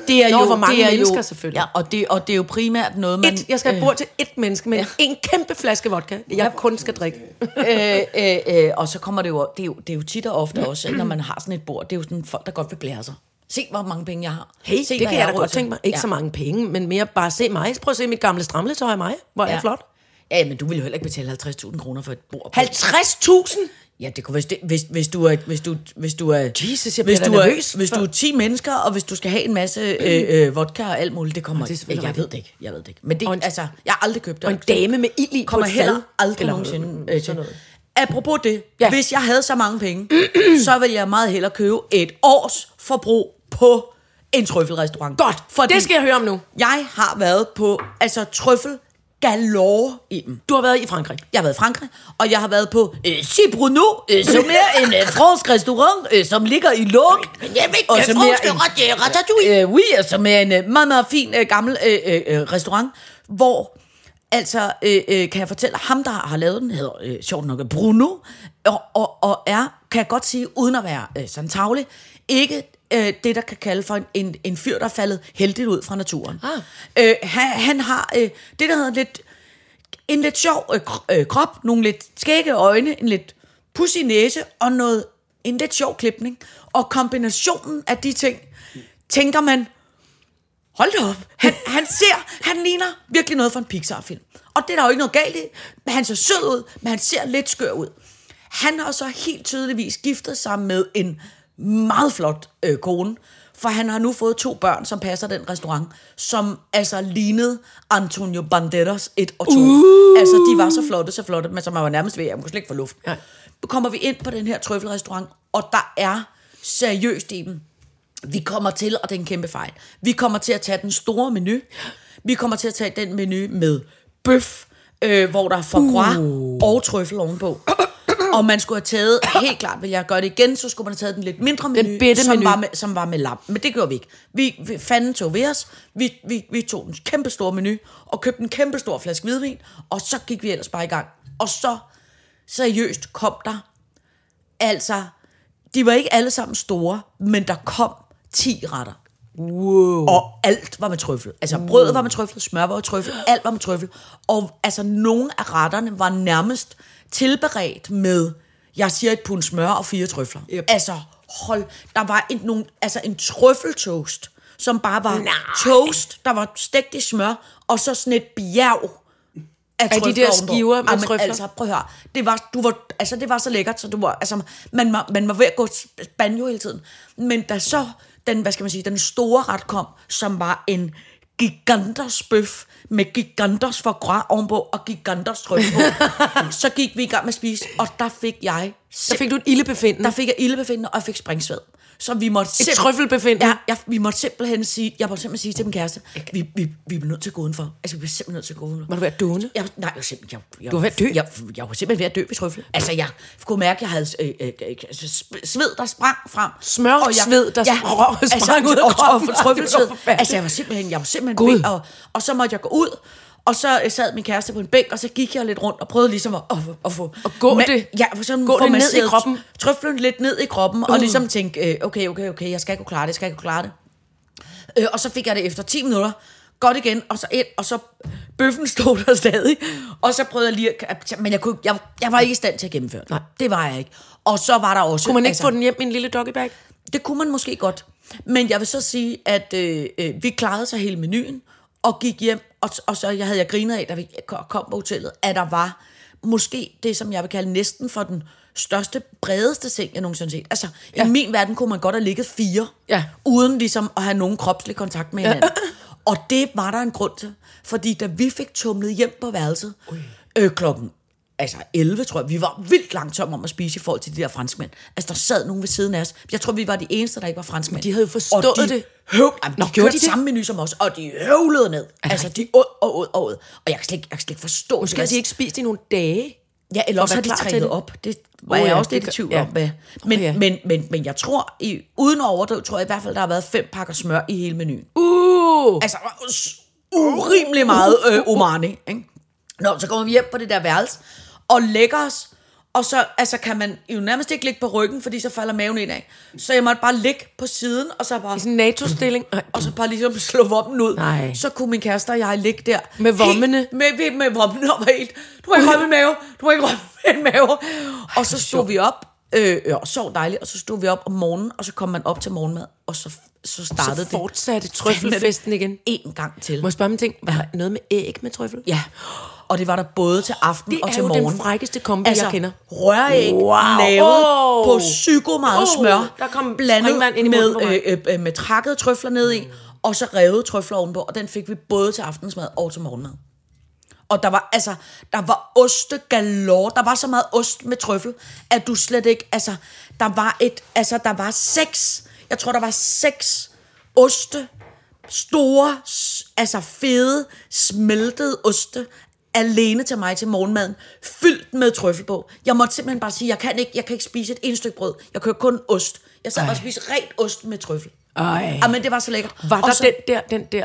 S4: Det er
S3: Nå,
S4: jo,
S3: hvor mange
S4: det er
S3: mennesker
S4: jo,
S3: selvfølgelig.
S4: Ja, og det, og det er jo primært noget, man...
S3: Et, jeg skal have et bord til et menneske, men en kæmpe flaske vodka, jeg kun skal drikke.
S4: [LAUGHS] øh, øh, øh, og så kommer det jo, det er jo, det er jo tit og ofte også, når man har sådan et bord, det er jo sådan folk, der godt vil blære sig. Se, hvor mange penge jeg har.
S3: Hey,
S4: Se,
S3: det
S4: hvad
S3: kan jeg
S4: har
S3: da
S4: råd
S3: godt
S4: til.
S3: tænke mig. Ikke
S4: ja.
S3: så mange penge, men mere bare se mig. Prøv at se mit gamle stramletøj af mig. Hvor er jeg flot.
S4: Ja, men du vil jo heller ikke betale 50.000 kroner for et bord.
S3: 50.000?
S4: Ja, det kunne, hvis, det, hvis, hvis, du er, hvis, du, hvis du er...
S3: Jesus, jeg
S4: hvis
S3: bliver
S4: du
S3: da
S4: er,
S3: nervøs
S4: hvis
S3: for-
S4: du er 10 mennesker, og hvis du skal have en masse øh, øh, vodka og alt muligt, det kommer
S3: det er
S4: ikke. Jeg
S3: selvfølgelig
S4: ved
S3: rigtigt.
S4: det ikke, jeg ved det ikke. Men det,
S3: Og en-
S4: altså, jeg har aldrig købt det.
S3: Og en dame med ild i på
S4: kommer
S3: et
S4: heller
S3: fad,
S4: aldrig
S3: eller
S4: nogensinde
S3: noget,
S4: øh, til
S3: sådan
S4: noget.
S3: noget.
S4: Apropos det, ja.
S3: Ja.
S4: hvis jeg havde så mange penge, [CLEARS THROAT] så ville jeg meget hellere købe et års forbrug på en trøffelrestaurant.
S3: Godt, for det skal jeg høre om nu.
S4: Jeg har været på altså trøffel galore i dem.
S3: Du har været i Frankrig.
S4: Jeg har været i Frankrig, og jeg har været på øh, Cibruno, øh, som er en øh, fransk restaurant, øh, som ligger i Lug. Og som er en- Øh, oui, og som er en øh, meget, meget fin øh, gammel øh, øh, øh, restaurant, hvor, altså, øh, øh, kan jeg fortælle, ham der har lavet den, hedder øh, sjovt nok Bruno, og, og, og er, kan jeg godt sige, uden at være øh, sådan tavlig, ikke øh, det, der kan kalde for en, en, en fyr, der er faldet heldigt ud fra naturen. Ah. Øh, han, han har øh, det, der hedder lidt en lidt sjov øh, kro- øh, krop, nogle lidt skægge øjne, en lidt pussy næse og noget, en lidt sjov klipning. Og kombinationen af de ting, tænker man, hold da op, han, han ser, han ligner virkelig noget fra en Pixar-film. Og det er der jo ikke noget galt i, men han ser sød ud, men han ser lidt skør ud. Han har så helt tydeligvis giftet sig med en meget flot øh, kone, for han har nu fået to børn, som passer den restaurant, som altså lignede Antonio Banderas et og to. Uh. Altså, de var så flotte, så flotte, men som man var nærmest ved, at man kunne slet ikke få luft. Ja. Kommer vi ind på den her trøffelrestaurant, og der er seriøst i dem vi kommer til, og det er en kæmpe fejl, vi kommer til at tage den store menu. Vi kommer til at tage den menu med bøf, øh, hvor der er foie uh. og trøffel ovenpå. og man skulle have taget, helt klart vil jeg gøre det igen, så skulle man have taget den lidt mindre menu,
S3: bitte
S4: som,
S3: menu.
S4: Var med, som var med lam. Men det gjorde vi ikke. Vi, vi fanden tog ved os, vi, vi, vi tog den kæmpe store menu, og købte en kæmpe stor flaske hvidvin, og så gik vi ellers bare i gang. Og så seriøst kom der Altså, de var ikke alle sammen store, men der kom 10 retter. Wow. Og alt var med trøffel. Altså, brødet var med trøffel, smør var med
S3: [GASPS]
S4: trøffel, alt var med trøffel. Og altså, nogle af retterne var nærmest tilberedt med, jeg siger et pund smør og fire trøfler. Yep. Altså, hold, der var en, nogle, altså en trøffeltoast, som bare var Nej. toast, der var stegt i smør, og så sådan et bjerg af,
S3: de
S4: trøfler
S3: der
S4: ovenpå.
S3: skiver med
S4: Jamen,
S3: trøfler?
S4: Altså, prøv at høre. Det var, du var, altså, det var så lækkert, så du var, altså, man, var, man var ved at gå banjo hele tiden. Men da så den, hvad skal man sige, den store ret kom, som var en giganters bøf med giganters for græ ovenpå og giganters trøfler på,
S3: [LAUGHS]
S4: så gik vi i gang med at spise, og der fik jeg
S3: Der fik du et ildebefindende.
S4: der fik jeg ildebefindende, og jeg fik springsved. Så vi måtte
S3: Et trøffelbefindende?
S4: Ja, jeg, vi måtte simpelthen sige, jeg måtte simpelthen sige til min kæreste, vi, vi, vi er nødt til at gå udenfor. Altså, vi er simpelthen nødt til at gå udenfor.
S3: Må du være dående?
S4: Jeg, nej, jeg, var simpelthen, jeg, jeg,
S3: Du var ved at dø.
S4: Jeg, jeg var simpelthen ved at dø ved trøffel. Altså, jeg kunne mærke, at jeg havde øh, øh, øh, altså, sp- sved, der sprang frem.
S3: Smør og
S4: jeg- altså,
S3: sved, der sprang ud af
S4: og, og, og,
S3: kroppen.
S4: trøffelsved.
S3: Det var forfærdeligt.
S4: Altså, jeg var simpelthen, jeg var simpelthen
S3: Gud.
S4: ved, og, og så måtte jeg gå ud, og så øh, sad min kæreste på en bænk, og så gik jeg lidt rundt og prøvede ligesom at, at, at få...
S3: At gå
S4: ma-
S3: det-
S4: Ja, for sådan
S3: gå
S4: få
S3: det ned i
S4: masseret
S3: kroppen.
S4: Trøflen lidt ned i kroppen, og
S3: Uh.
S4: ligesom tænke, øh, okay, okay, okay, jeg skal ikke kunne klare det, jeg skal ikke kunne klare det. Øh, og så fik jeg det efter 10 minutter. Godt igen, og så ind, og så bøffen [LAUGHS] stod der stadig. Og så prøvede jeg lige at, men jeg, kunne, jeg, jeg var ikke i stand til at gennemføre det. Nej. Det var jeg ikke. Og så var der også...
S3: Kunne man ikke få den hjem i en lille doggybag?
S4: Det kunne man måske godt. Men jeg vil så sige, at øh, øh, vi klarede så hele menuen, og gik hjem, og, og så jeg havde jeg grinet af, da vi ko- kom på hotellet, at der var måske det, som jeg vil kalde næsten for den største, bredeste seng, jeg nogensinde har set. Altså, ja. i min verden kunne man godt have ligget fire,
S3: Ja.
S4: uden ligesom at have nogen kropslig kontakt med hinanden. og det var der en grund til, fordi da vi fik tumlet hjem på værelset, øh, klokken altså 11, tror jeg, vi var vildt langsomme om at spise i forhold til de der franskmænd. Altså, der sad nogen ved siden af os. Jeg tror, vi var de eneste, der ikke var franskmænd.
S3: de havde jo forstået
S4: og de
S3: det.
S4: Høv, jamen,
S3: Nå,
S4: de
S3: gjorde
S4: kørte
S3: de
S4: de
S3: det?
S4: samme menu som os, og de høvlede ned. Altså, de åd og åd og åd. Og jeg kan slet ikke, jeg kan slet ikke forstå Altså,
S3: Måske har de ikke spist i nogle dage.
S4: Ja, eller også
S3: være
S4: har de
S3: klar til
S4: trænet
S3: det.
S4: op. Det var
S3: Åh
S4: oh, jeg
S3: ja,
S4: også lidt i
S3: det
S4: tvivl
S3: gør-
S4: om. Hvad. Men,
S3: Åh ja.
S4: men, men, men jeg tror, i, uden at overdrive, tror jeg i hvert fald, der har været fem pakker smør i hele menuen.
S3: Uh!
S4: Altså, der var s- urimelig meget øh, umami, ikke? Nå, så kommer vi hjem på det der værelse, og lægger os, og så altså, kan man jo nærmest ikke ligge på ryggen, fordi så falder maven ind af. Så jeg måtte bare ligge på siden, og så bare,
S3: I sådan en NATO-stilling. Ej,
S4: og så bare ligesom slå vommen ud.
S3: Nej.
S4: Så kunne min kæreste og jeg ligge der.
S3: Med
S4: helt-
S3: vommene?
S4: Med, med, med vommene og var helt, du må ikke røre min mave, du må ikke røre min mave. Og så stod vi op, øh, øh, og sov dejligt, og så stod vi op om morgenen, og så kom man op til morgenmad, og så, så startede
S3: Så
S4: det.
S3: fortsatte trøffelfesten igen.
S4: En gang til.
S3: Må jeg spørge om en ting? Var der noget med æg med trøffel?
S4: Ja. og det var der både til aften
S3: Det
S4: og
S3: er
S4: til
S3: jo
S4: morgen.
S3: den frækkeste kombi, jeg kender.
S4: Røræg wow.
S3: Altså, Wow.
S4: lavet
S3: Åh.
S4: på psyko meget
S3: Åh,
S4: smør,
S3: der kom
S4: blandet
S3: springvand ind i munden
S4: med,
S3: på mig.
S4: øh, øh, med trakkede trøfler ned i, og så revede trøfler ovenpå, og den fik vi både til aftensmad og til morgenmad. Og der var, altså, der var oste galore. Der var så meget ost med trøffel, at du slet ikke, altså, der var et, altså, der var seks, jeg tror, der var seks oste, store, s- altså fede, smeltede oste, alene til mig til morgenmaden, fyldt med trøffel på. Jeg måtte simpelthen bare sige, jeg kan ikke, jeg kan ikke spise et eneste stykke brød. Jeg kører kun ost. Jeg sad bare og spiste rent ost med trøffel.
S3: Ej.
S4: Ja, men det var så lækkert.
S3: Var
S4: Og
S3: der
S4: så-
S3: den der, den der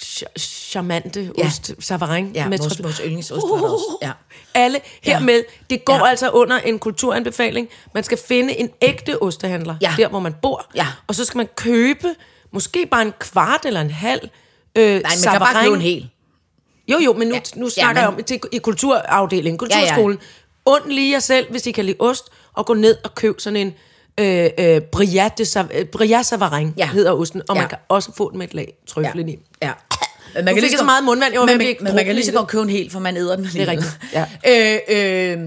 S3: ch- charmante
S4: Ja.
S3: ja. ost, savarin?
S4: Ja,
S3: med
S4: vores-
S3: trøffel?
S4: vores yndlingsost var der også. Ja.
S3: Alle hermed, det går
S4: Ja.
S3: Uh. ja. altså under en kulturanbefaling. Man skal finde en ægte ostehandler,
S4: Ja.
S3: der hvor man bor.
S4: Ja.
S3: Og så skal man købe måske bare en kvart eller en halv øh, Nej,
S4: Ej, man kan bare købe en hel.
S3: Jo, jo, men nu,
S4: Ja.
S3: ja. nu snakker
S4: Ja,
S3: ja,
S4: men-
S3: men... jeg om til, i kulturafdelingen, kulturskolen. Ja, ja. Und lige jer selv, hvis I kan lide ost, og gå ned og køb sådan en øh, øh, brillat, de, Sav- øh, brillat savarin,
S4: Ja.
S3: ja. hedder osten. Og ja.
S4: Ja.
S3: man kan også få den med et lag trøfle ja. i.
S4: Ja. Men
S3: fik jeg så
S4: godt-
S3: meget mundvand, jeg var
S4: men,
S3: ved at
S4: man,
S3: blive
S4: men man kan lige så
S3: druknet i
S4: godt købe en hel, for man æder den Det
S3: rigtigt,
S4: Ja. Øh, øh,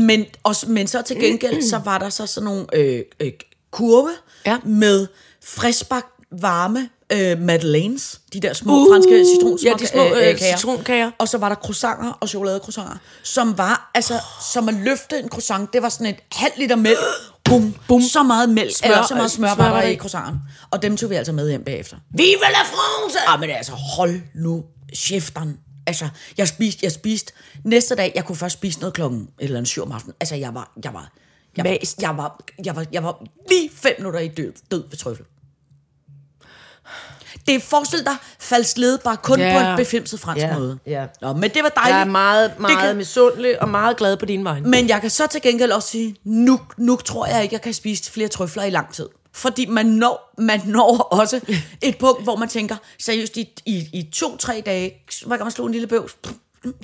S4: men, også, men så til gengæld, så var der så sådan nogle øh, øh, kurve
S3: Ja.
S4: med friskbagt varme øh, madeleines. De der små uh, franske citronsmager.
S3: ja, de små, øh, citronkager.
S4: Og så var der croissanter og chokoladecroissanter, som var, altså, som at løfte en croissant. Det var sådan et halvt liter mælk. Bum, bum. Så meget mælk, smør,
S3: Smør-
S4: eller så meget smør,
S3: smør
S4: var
S3: var
S4: der
S3: der
S4: i
S3: i.
S4: croissanten. Og dem tog vi altså med hjem bagefter.
S5: Vive la France!
S4: Ah, men altså, hold nu chefteren. Altså, jeg spiste, jeg spiste. Næste dag, jeg kunne først spise noget klokken et eller en syv om aftenen. Altså, jeg var, jeg var, jeg, jeg,
S3: Mast.
S4: jeg, var, jeg, var, jeg var lige fem minutter i død, død ved trøffel. Det er forestil dig falsk led bare kun yeah. på
S3: Ja.
S4: en befimset fransk
S3: Ja,
S4: måde.
S3: ja.
S4: Nå, men det var dejligt.
S3: Jeg er meget,
S4: Det
S3: meget
S4: kan-
S3: kan... misundelig og meget glad på dine vegne.
S4: men jeg kan så til gengæld også sige, nu, nu tror jeg ikke, jeg kan spise flere trøfler i lang tid. Fordi man når, man når også et punkt, hvor man tænker, seriøst, i, i, i to-tre dage, hver gang man slog en lille bøvs,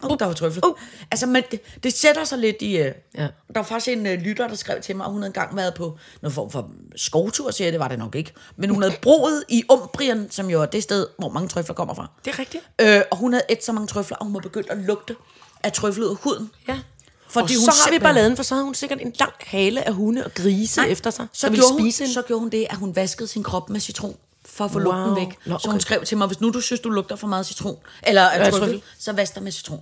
S4: oh, der var trøfler. Uh. Altså, man, det, det sætter sig lidt i... Øh, ja. Der var faktisk en øh, lytter, der skrev til mig, at hun havde engang været på noget form for skovtur, siger jeg, det var det nok ikke. Men hun havde broet i Umbrien, som jo er det sted, hvor mange trøfler kommer fra.
S3: Det er rigtigt.
S4: Øh, og hun havde et så mange trøfler, og hun var begyndt at lugte af trøffel ud af huden.
S3: Ja.
S4: Fordi
S3: og
S4: hun
S3: så har vi
S4: simpelthen-
S3: balladen, for så havde hun sikkert en lang hale af hunde og grise Nej, efter sig.
S4: Så,
S3: der ville
S4: gjorde hun,
S3: spise hende.
S4: så gjorde hun det, at hun vaskede sin krop med citron for at få wow.
S3: Wow.
S4: lugten væk.
S3: Nå,
S4: Så hun
S3: okay.
S4: skrev til mig, hvis nu du synes, du lugter for meget citron, eller ja,
S3: Ja,
S4: trøffel,
S3: trøffel.
S4: så vask dig med citron.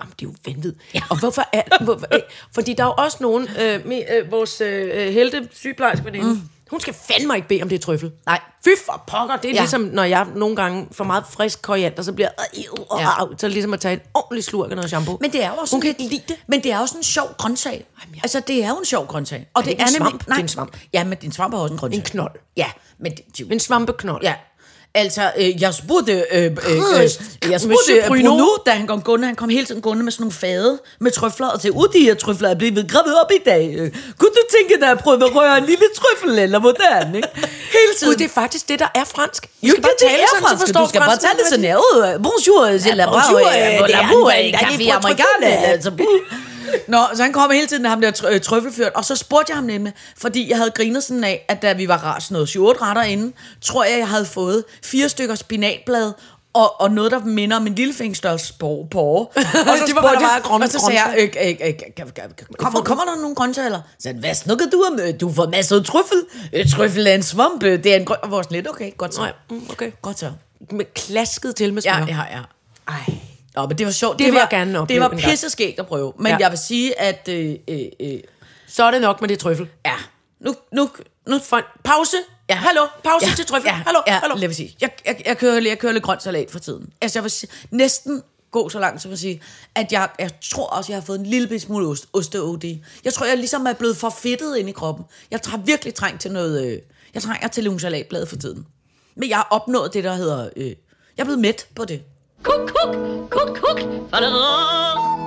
S3: Jamen, det er jo vanvittigt. Ja. Og hvorfor er... Hvorfor,
S4: [LAUGHS]
S3: øh, fordi der er jo også nogen... Øh, med, øh, vores øh, helte sygeplejerske veninde, mm. hun skal fandme ikke bede om det er trøffel.
S4: Nej.
S3: Fy for pokker, det er
S4: Ja.
S3: ja. ligesom, når jeg nogle gange får meget frisk koriander, så bliver jeg... Øh, øh,
S4: Ja.
S3: øh, så er det ligesom at tage en ordentlig slurk af noget shampoo.
S4: Men det er jo også
S3: Hun kan
S4: sådan-
S3: ikke lide det.
S4: Men det er også en sjov grøntsag.
S3: ja.
S4: Altså, det er jo en sjov grøntsag. Og
S3: det ikke en
S4: nemlig-
S3: svamp? Det er en svamp.
S4: Ja, men din svamp er også en grøntsag.
S3: En knold.
S4: Ja, men det, det,
S3: En svampeknold.
S4: Ja. Altså, øh, jeg spurgte, øh, øh, øh, jeg spurgte
S3: Monsieur
S4: Bruno,
S3: Bruno.
S4: Bruno, da han kom gående, han kom hele tiden gående med sådan nogle fade med trøfler, og til ud de her trøfler er blevet gravet op i dag. Øh, Kunne du tænke dig at prøve at røre en lille trøffel, eller hvordan? Ikke? Hele tiden.
S3: Gud, det er faktisk det, der er fransk. Du
S4: jo, det, det er fransk, du skal bare tale sådan her. Øh, Bonjour, c'est la brave,
S5: bonjour,
S4: øh,
S5: øh,
S4: bon
S5: det er
S4: amour,
S5: en
S4: øh,
S5: café
S4: café americano,
S5: americano,
S4: altså, buh. Nå, så han kom hele tiden, ham der tr- øh, trøffelfyrt, og så spurgte jeg ham nemlig, fordi jeg havde grinet sådan af, at da vi var ra- sådan noget 7 retter inde, tror jeg, jeg havde fået fire stykker spinatblad, og, og noget, der minder om en lillefingerstørrelse porre. porre. Og
S3: Det
S4: så
S3: var, hvad
S4: spurgte
S3: der var
S4: jeg,
S3: af grønne
S4: og så sagde jeg, øh, øh, øh, øh, kommer, kommer der nogle grøntsager, eller? Så sagde han, hvad snakker du om? Øh, Du får masser af trøffel. Øh, Trøffel er en svamp. øh, Det er en grøn... Og var sådan lidt, okay, godt så.
S3: Nej, mm, okay.
S4: Godt så.
S3: Med klasket til med smør.
S4: Ja, ja, ja.
S3: Ej.
S4: Nå, men det var sjovt.
S3: Det vil
S4: var,
S3: jeg gerne opleve
S4: Det var
S3: en gang.
S4: pisseskægt at prøve. Men ja.
S3: Ja.
S4: jeg vil sige, at... Øh, øh, øh,
S3: Så er det nok med det trøffel.
S4: ja, nu... nu, nu
S3: For pause.
S4: Ja.
S3: Ja. Hallo, pause ja. til trøffel.
S4: Ja,
S3: Hallo,
S4: ja,
S3: hallo.
S4: lige præcis. Jeg, jeg, jeg, kører, jeg kører lidt grønt salat for tiden. Altså, jeg vil sige, næsten gå så langt, som at sige, at jeg, jeg tror også, jeg har fået en lille bitte smule ost, osteod i. Jeg tror, jeg ligesom er blevet for fedtet ind i kroppen. Jeg har virkelig trængt til noget... Øh, jeg trænger til nogle salatblade for tiden. Men jeg har opnået det, der hedder... Øh, jeg er blevet mæt på det.
S2: Kuk, kuk, kuk, kuk, faderov.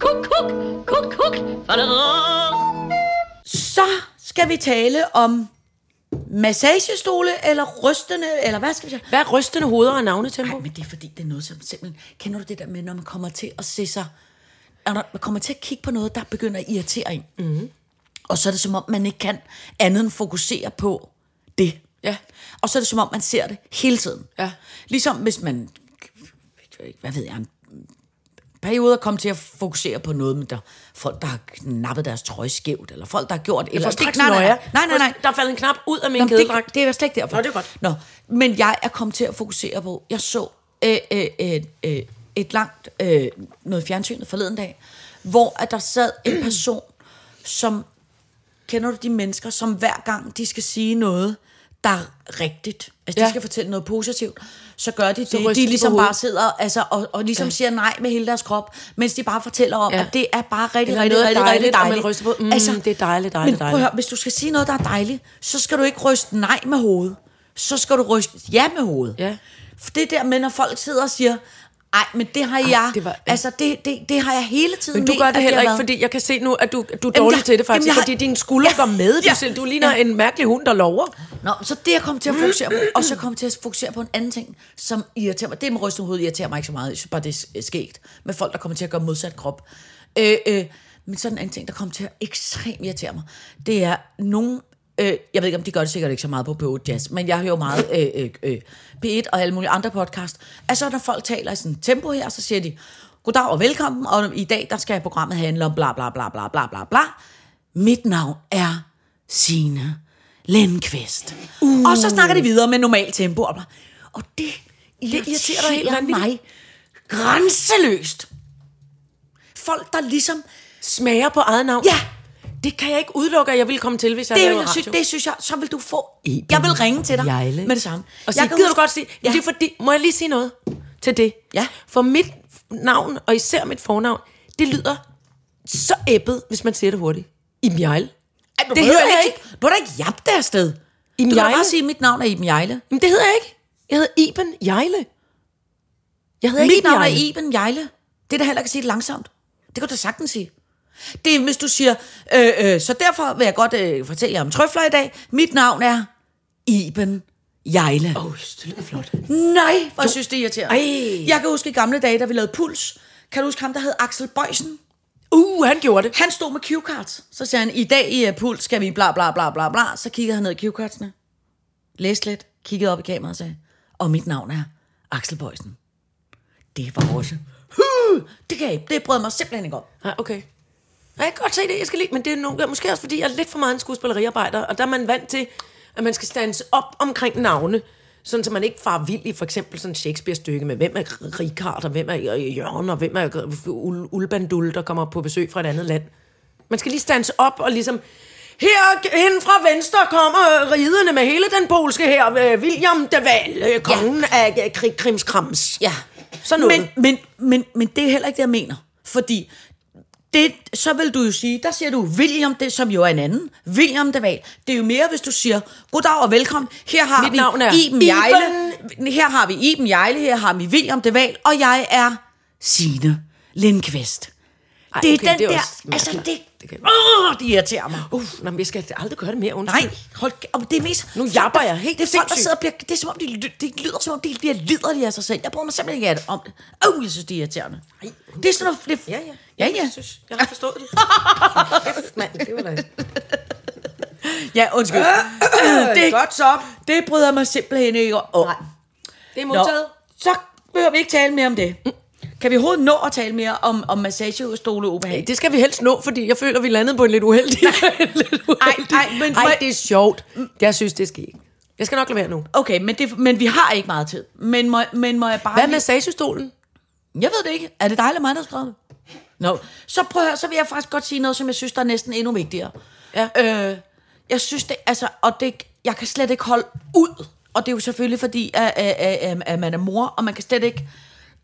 S2: Kuk, kuk, kuk, kuk, faderov.
S4: Så skal vi tale om massagestole eller rystende, eller hvad skal vi sige?
S3: Hvad er rystende hoveder og navnetempo?
S4: Nej, men det er fordi, det er noget som simpelthen... Kender du det der med, når man kommer til at se sig... Når man kommer til at kigge på noget, der begynder at
S3: Mhm.
S4: irritere en. Mm. Og så er det som om, man ikke kan andet end fokusere på det.
S3: Ja.
S4: Og så er det som om, man ser det hele tiden.
S3: Ja.
S4: Ligesom hvis man, hvad ved jeg, en perioder kom til at fokusere på noget med der, folk, der har knappet deres tøj skævt, eller folk, der har gjort... Eller
S3: får
S4: det-
S3: straks
S4: nej, nej, nej,
S3: nøje.
S4: nej, nej, nej.
S3: Der faldt en knap ud af min
S4: Nå, men
S3: kædedragt.
S4: Det, det er slet ikke derfor.
S3: Nå, det er godt.
S4: Nå, men jeg er kommet til at fokusere på, jeg så øh, øh, øh, øh, et langt, øh, noget fjernsynet forleden dag, hvor at der sad
S3: [CLEARS THROAT]
S4: en person, som, kender du de mennesker, som hver gang de skal sige noget, der er rigtigt, altså ja.
S3: Ja.
S4: de skal fortælle noget positivt, så gør de det,
S3: ryster
S4: de
S3: de på
S4: ligesom bare
S3: hovedet.
S4: sidder altså, og, og ligesom ja. siger nej med hele deres krop, mens de bare fortæller om, ja.
S3: Ja.
S4: at det er bare rigtig,
S3: Eller
S4: rigtig,
S3: noget
S4: rigtig, rigtig
S3: dejligt, og man
S4: dejligt. Altså,
S3: ryster på, mm, det er dejligt, dejligt,
S4: men prøv at
S3: dejligt.
S4: høre, hvis du skal sige noget, der er dejligt, så skal du ikke ryste nej med hovedet. Så skal du ryste ja med hovedet.
S3: Ja.
S4: For det der med, når folk sidder og siger, ej, men det har jeg, det
S3: det
S4: var,
S3: var-
S4: altså det, det, det har jeg hele tiden
S3: Men du
S4: ment,
S3: gør
S4: at
S3: det heller
S4: har
S3: ikke,
S4: været."
S3: fordi jeg kan se nu, at du, du er dårlig
S4: jeg-
S3: til det faktisk,
S4: jamen, jeg har-
S3: fordi dine skuldre
S4: Ja.
S3: går med. Du,
S4: Ja.
S3: selv, du ligner en mærkelig hund, der lover.
S4: Nå, så det er jeg kommet til at fokusere på. Og så kom jeg til at fokusere på en anden ting, som irriterer mig. Det med rystende hoved irriterer mig ikke så meget. Jeg synes bare, det er skægt med folk, der kommer til at gøre modsat krop. Øh, øh, men sådan en anden ting, der kommer til at ekstremt irritere mig, det er nogen... Øh, jeg ved ikke, om de gør det sikkert ikke så meget på P8 Jazz, men jeg hører jo meget øh, øh, øh, P1 og alle mulige andre podcast. Altså, når folk taler i sådan et tempo her, så siger de, goddag og velkommen, og i dag, der skal programmet handle om bla bla bla bla bla bla bla. Mit navn er Sine Lindqvist. Uh. Og så snakker de videre med normalt tempo. Og, og det irriterer dig helt
S3: vanvittigt.
S4: mig grænseløst. Folk, der ligesom...
S3: Smager på eget navn.
S4: Ja,
S3: Det kan jeg ikke udelukke, at jeg ville komme til, hvis jeg
S4: det,
S3: lavede
S4: jeg sy-
S3: radio.
S4: det synes jeg, så vil du få... Jeg vil ringe til dig
S5: Jejle.
S4: med det samme.
S3: Og sige,
S4: jeg kan
S3: gider du
S4: huske-
S3: godt sige?
S4: Ja.
S3: Ja. Det er fordi, må jeg lige sige noget til det?
S4: Ja.
S3: For mit navn, og især mit fornavn, det lyder så æbbet, hvis man siger det hurtigt. Iben Jejle.
S4: Ej, du
S3: Det
S4: det
S3: hedder
S4: hedder
S3: jeg
S4: ikke. Du må da ikke jappe det afsted.
S3: Iben
S4: Du kan da
S3: Jejle.
S4: bare sige, at mit navn er Iben Jejle.
S3: Jamen, det hedder jeg ikke. Jeg hedder Iben Jejle. Jeg hedder
S4: Mit
S3: ikke
S4: navn er
S3: Jejle.
S4: Iben Jejle. Det er da heller ikke at sige det langsomt. Det kan du da sagtens sige. Det er, hvis du siger, øh, øh, så derfor vil jeg godt øh, fortælle jer om trøfler i dag. Mit navn er Iben Jejle.
S3: Åh, det lyder flot.
S4: Nej, hvor jeg synes, det er irriterende.
S3: Ej.
S4: Jeg kan huske i gamle dage, da vi lavede Puls. Kan du huske ham, der hed Axel Bøjsen?
S3: Uh, han gjorde det.
S4: Han stod med cuecards. Så sagde han, i dag i øh, Puls skal vi bla bla bla bla bla. Så kiggede han ned i cuecardsene. Læste lidt, kiggede op i kameraet og sagde, og mit navn er Axel Bøjsen. Det var også... Huh, det kan jeg ikke. Det brød mig simpelthen ikke om.
S3: Nej, Ah, okay. Nej, jeg kan godt se det, jeg skal lide, men det er nogle, måske også fordi, jeg er lidt for meget en skuespilleriarbejder, og der er man vant til, at man skal stands op omkring navne, sådan så man ikke farer vild i for eksempel sådan Shakespeare-stykke med, hvem er Richard, og hvem er Jørgen, og hvem er Ul- Ulbandul, der kommer på besøg fra et andet land. Man skal lige stands op og ligesom, herhen fra venstre kommer riderne med hele den polske her, øh, William de Waal, øh, kongen ja. af øh, Kri- Krimskrams.
S4: Ja.
S3: Sådan noget.
S4: Men, men, men, men det er heller ikke det, jeg mener. Fordi det, så vil du jo sige, der siger du William, det, som jo er en anden. William de Waal. Det er jo mere, hvis du siger, goddag og velkommen. Her har
S3: Mit
S4: vi
S3: navn er
S4: Iben Jejle. Her har vi Iben Jejle, her har vi William de Waal, og jeg er Signe Lindqvist. Ej, det er
S3: okay,
S4: den
S3: det er
S4: der,
S3: også
S4: altså det,
S3: mærkeligt. Det
S4: det,
S3: kan-
S4: åh, det irriterer mig.
S3: Uff, nej, men jeg skal aldrig gøre det mere, undskyld.
S4: Nej, hold kæ- og det er mest...
S3: Nu japper jeg helt
S4: Det er folk, der
S3: sindssygt.
S4: sidder og bliver... Det er som om, de, ly- det lyder som om, de bliver liderlige af sig selv. Jeg bruger mig simpelthen ikke af det om det. Åh, oh, jeg synes, det er irriterende.
S3: Nej.
S4: Det er sådan noget... Det,
S3: Ja, ja.
S4: Ja, ja.
S3: Jeg synes, jeg har forstået det. [LAUGHS] Kæft, mand, det var da...
S4: Ja, undskyld. Øh, det er godt så. Det bryder jeg mig simpelthen ikke om. Nej.
S3: Det er
S4: Nå,
S3: modtaget.
S4: så behøver vi ikke tale mere om det. Kan vi overhovedet nå at tale mere om, om massagestole obehag?
S3: Det skal vi helst nå, fordi jeg føler, vi landede på en lidt uheldig. [LAUGHS] lidt uheldig.
S4: ej, men-
S3: ej, det er sjovt. Jeg synes, det skal ikke. Jeg skal nok lade være nu.
S4: Okay, men, det, men vi har ikke meget tid. Men må, men må jeg bare...
S3: Hvad er
S4: lige-
S3: massagestolen?
S4: Jeg ved det ikke. Er det dig eller mig, der har skrevet det? Nå, så prøv at høre, så vil jeg faktisk godt sige noget, som jeg synes, der er næsten endnu vigtigere.
S3: Ja.
S4: Øh, jeg synes det, altså, og det, jeg kan slet ikke holde ud. Og det er jo selvfølgelig fordi, at, at, at, at man er mor, og man kan slet ikke,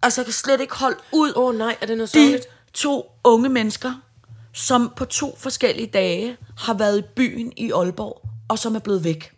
S4: altså jeg kan slet ikke holde ud.
S3: Åh, nej, er det noget
S4: De
S3: sørgeligt?
S4: to unge mennesker, som på to forskellige dage har været i byen i Aalborg, og som er blevet væk.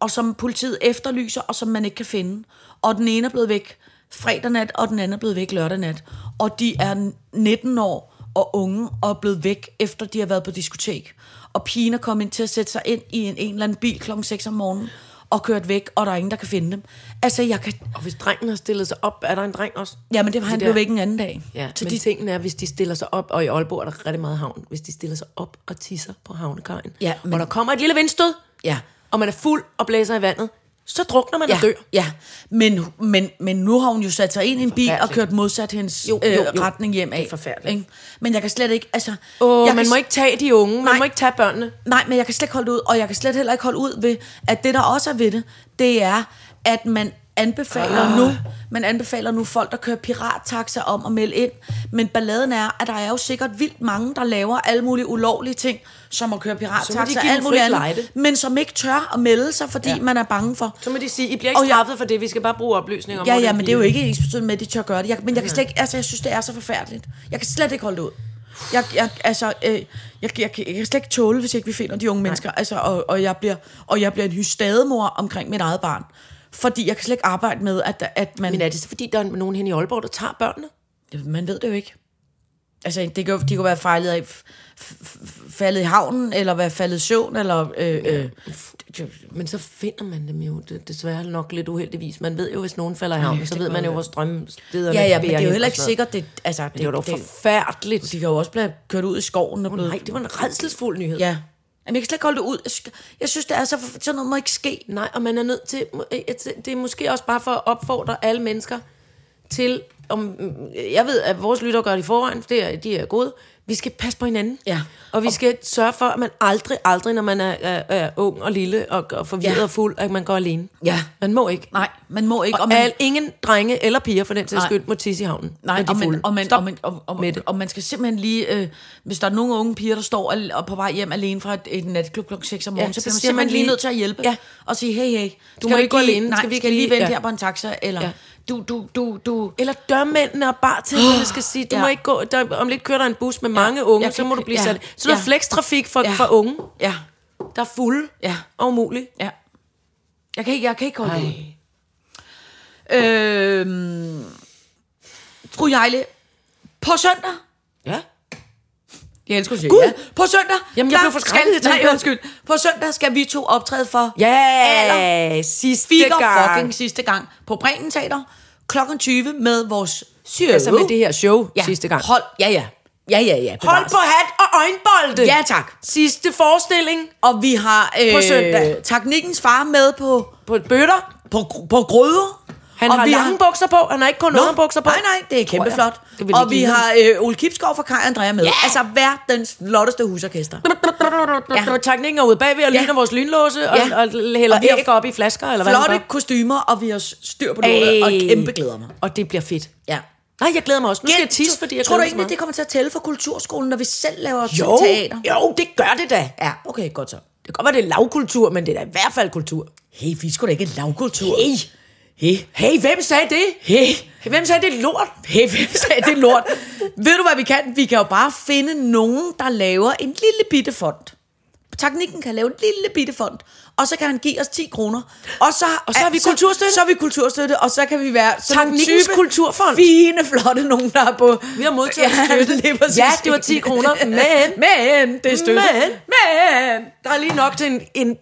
S4: Og som politiet efterlyser, og som man ikke kan finde. Og den ene er blevet væk fredag nat, og den anden er blevet væk lørdag nat. Og de er 19 år og unge og er blevet væk, efter de har været på diskotek. Og pigen er kommet ind til at sætte sig ind i en, en eller anden bil klokken 6 om morgenen og kørt væk, og der er ingen, der kan finde dem. Altså, jeg kan...
S3: Og hvis drengen har stillet sig op, er der en dreng også?
S4: Jamen, det var han
S3: der-
S4: blev væk en anden dag.
S3: Ja,
S4: Så
S3: men de... tingen er, hvis de stiller sig op, og i Aalborg er der rigtig meget havn, hvis de stiller sig op og tisser på havnekajen,
S4: Ja, men-
S3: og der kommer et lille vindstød,
S4: Ja.
S3: og man er fuld og blæser i vandet, så drukner man
S4: Ja,
S3: og dør.
S4: ja. Men, men, men nu har hun jo sat sig ind i en bil og
S3: Forfærdeligt.
S4: kørt modsat hendes
S3: Jo, jo,
S4: øh,
S3: jo.
S4: retning hjem af.
S3: Det er forfærdeligt.
S4: Ikke? Men jeg kan slet ikke, altså...
S3: Åh,
S4: jeg
S3: man
S4: kan
S3: må
S4: s-
S3: ikke tage de unge, man
S4: Nej.
S3: må ikke tage børnene.
S4: Nej, men jeg kan slet ikke holde det ud, og jeg kan slet heller ikke holde ud ved, at det, der også er ved det, det er, at man anbefaler ah. nu, man anbefaler nu folk, der kører pirattaxa om at melde ind. Men balladen er, at der er jo sikkert vildt mange, der laver alle mulige ulovlige ting, som at køre
S3: Så må de
S4: pirattaxa
S3: give
S4: og
S3: dem
S4: alt muligt
S3: frit
S4: andet,
S3: lejde.
S4: men som ikke tør at melde sig, fordi ja. man er bange for.
S3: Så må de sige, I bliver ikke
S4: Og jeg-
S3: straffet for det, vi skal bare bruge oplysninger om,
S4: Ja,
S3: hvordan
S4: ja, men det er jo
S3: bliver."
S4: ikke ens betydende med, at de tør gøre det. Jeg, men jeg kan slet ikke, altså jeg synes, det er så forfærdeligt. Jeg kan slet ikke holde det ud. Jeg, jeg, altså, øh, jeg, jeg, jeg, jeg kan slet ikke tåle, hvis ikke vi finder de unge mennesker. Altså, og, og, jeg bliver, og jeg bliver en hystademor omkring mit eget barn. Fordi jeg kan slet ikke arbejde med, at, at man...
S3: Men er det så fordi, der er nogen hen i Aalborg, der tager børnene?
S4: Man ved det jo ikke. Altså, det kan, jo- de kan jo være fejlet af, f- f- f- faldet i havnen, eller være faldet i søvn, eller... Øh, øh,
S3: Men så finder man dem jo det- desværre nok lidt uheldigvis. Man ved jo, hvis nogen falder i havnen, så ved man jo, hvor strømstederne
S4: ja, ja, men det
S3: bærer
S4: er jo
S3: hen
S4: heller
S3: og
S4: ikke
S3: sådan noget.
S4: sikkert, det... Altså, det,
S3: Men det var dog forfærdeligt.
S4: de kan jo også blive kørt ud i skoven og blevet
S3: Nej, det var en redselsfuld nyhed.
S4: Ja. Jamen, jeg kan slet ikke holde det ud. Jeg sk- Jeg synes, det er så... Sådan noget må ikke ske.
S3: Nej, og man er nødt til... må- øh, jeg tæ- Det er måske også bare for at opfordre alle mennesker til... Om, mm, jeg ved, at vores lytter gør det i forvejen, for det er, de er gode. Vi skal passe på hinanden.
S4: Ja.
S3: Og vi skal sørge for, at man aldrig, aldrig, når man er, er, er ung og lille og, og forvirret
S4: Ja.
S3: ja. og fuld, at man går alene.
S4: Ja.
S3: Man må ikke.
S4: Nej, man må ikke.
S3: Og
S4: man,
S3: al, ingen drenge eller piger for den sags
S4: Nej.
S3: skyld må tisse i havnen.
S4: nej,
S3: når de er
S4: og man,
S3: fulde.
S4: og, man,
S3: Stop
S4: og, man, og, og,
S3: med det.
S4: og man skal simpelthen lige... Øh, hvis der er nogle unge piger, der står al- og på vej hjem alene fra et, et natklub kl. 6 om morgenen, ja, så
S3: så
S4: bliver man
S3: siger man
S4: simpelthen lige
S3: lige-
S4: nødt til at hjælpe.
S3: Ja.
S4: Og sige, hey, hey. Skal
S3: må ikke gå
S4: lige,
S3: alene.
S4: Nej, skal vi ikke lige vente ja. her på en taxa? Eller ja.
S3: Ja.
S4: du, du, du, du...
S3: Eller dørmændene og bartenderne
S4: [GASPS]
S3: skal sige, du
S4: Ja.
S3: ja. må ikke gå, der, om lidt kører der en bus med mange unge,
S4: Jeg
S3: så
S4: kan
S3: må
S4: ikke-
S3: du blive
S4: ja.
S3: ja. sat. Så der
S4: Ja.
S3: er flekstrafik for,
S4: Ja.
S3: ja. for unge,
S4: Ja,
S3: der er fulde
S4: Ja.
S3: og umulige.
S4: ja. Jeg kan ikke, jeg kan ikke holde det ud.
S3: Ej.
S4: Øhm, Fru Jejle, på søndag,
S3: Ja.
S4: Jeg elsker at sige
S3: Gud!
S4: ja. På søndag.
S3: Jamen, jeg
S4: der
S3: blev forskrækket.
S4: skal- Nej,
S3: Jeg-
S4: undskyld. På søndag skal vi to optræde for
S3: Ja, yeah, sidste
S4: Speaker
S3: gang.
S4: fucking sidste gang på Bremen Teater klokken 20 med vores show.
S3: Altså med det her show
S4: ja.
S3: ja. sidste gang.
S4: Hold, ja, ja. Ja, ja, ja.
S3: Hold
S4: bevares.
S3: på hat og øjenbolde.
S4: Ja, tak.
S3: Sidste forestilling
S4: Og vi har øh,
S3: På søndag.
S4: teknikkens far med på,
S3: på et bøtter.
S4: på, gr- på grøder.
S3: Han
S4: og
S3: har
S4: vi
S3: lange bukser på, han har ikke kun
S4: Nå,
S3: underbukser på.
S4: Nej, nej, det er kæmpe
S3: Tror jeg.
S4: flot.
S3: Det vil
S4: Og
S3: ikke
S4: vi
S3: lide
S4: har øh, Ole Kipskov fra Kaj Andrea med.
S3: Ja!
S4: Altså verdens flotteste husorkester.
S3: Ja. Og teknikken er ude bagved og
S4: Ja.
S3: lyner vores lynlåse og,
S4: Ja.
S3: ja. og hælder
S4: Og vi har-
S3: æg op i flasker, eller hvad det
S4: Flotte
S3: var.
S4: kostymer, og vi har styr på det, og
S3: Ej.
S4: kæmpe glæder mig.
S3: Og det bliver fedt.
S4: Ja.
S3: Nej, jeg glæder mig også. Nu skal jeg tisse, fordi jeg
S4: Tror du
S3: glæder
S4: egentlig,
S3: mig
S4: det
S3: så
S4: kommer til at tælle for kulturskolen, når vi selv laver
S3: meget.
S4: teater?
S3: Jo, jo, det gør det da.
S4: Ja, okay, godt så.
S3: Det kan godt være, det er lavkultur, men det er da i hvert fald kultur.
S4: Hey, vi skulle da ikke lavkultur.
S3: Hey.
S4: Hey.
S3: Hey, hvem sagde det?
S4: Hey.
S3: Hvem sagde det er lort?
S4: Hey, hvem sagde det er lort? Ved du, hvad vi kan? Vi kan jo bare finde nogen, der laver en lille bitte fond. Teknikken kan lave en lille bitte fond, og så kan han give os 10 kroner. Og så,
S3: Og så er vi kulturstøtte?
S4: Så er vi kulturstøtte, og så kan vi være sådan nogle
S3: Teknikkens
S4: type
S3: Kulturfond.
S4: Fine, flotte nogen, der er på...
S3: Vi har modtaget
S4: ja,
S3: støtte.
S4: lige præcis.
S3: Ja, det var 10 kroner, men-
S4: Men, det er støtte.
S3: Men-
S4: men.
S3: Der er lige nok til en, en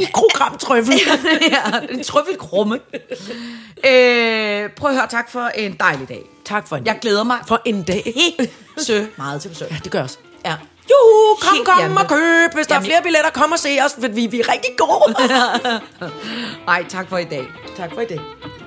S3: mikrogram trøffel. [LAUGHS]
S4: ja, en trøffelkrumme. øh, prøv at høre, tak for en dejlig dag.
S3: tak for en
S4: Jeg glæder mig
S3: For en dag. [LAUGHS]
S4: så meget til besøg.
S3: Ja, det gør os.
S4: Ja.
S3: Juhu,
S4: [LAUGHS]
S3: kom,
S4: Helt
S3: kom
S4: hjemme.
S3: og køb. Hvis der er
S4: Jamen-
S3: flere billetter, kom
S4: [LAUGHS]
S3: og se os, for vi, vi er rigtig gode.
S4: Ej, tak for i dag.
S3: tak for i dag.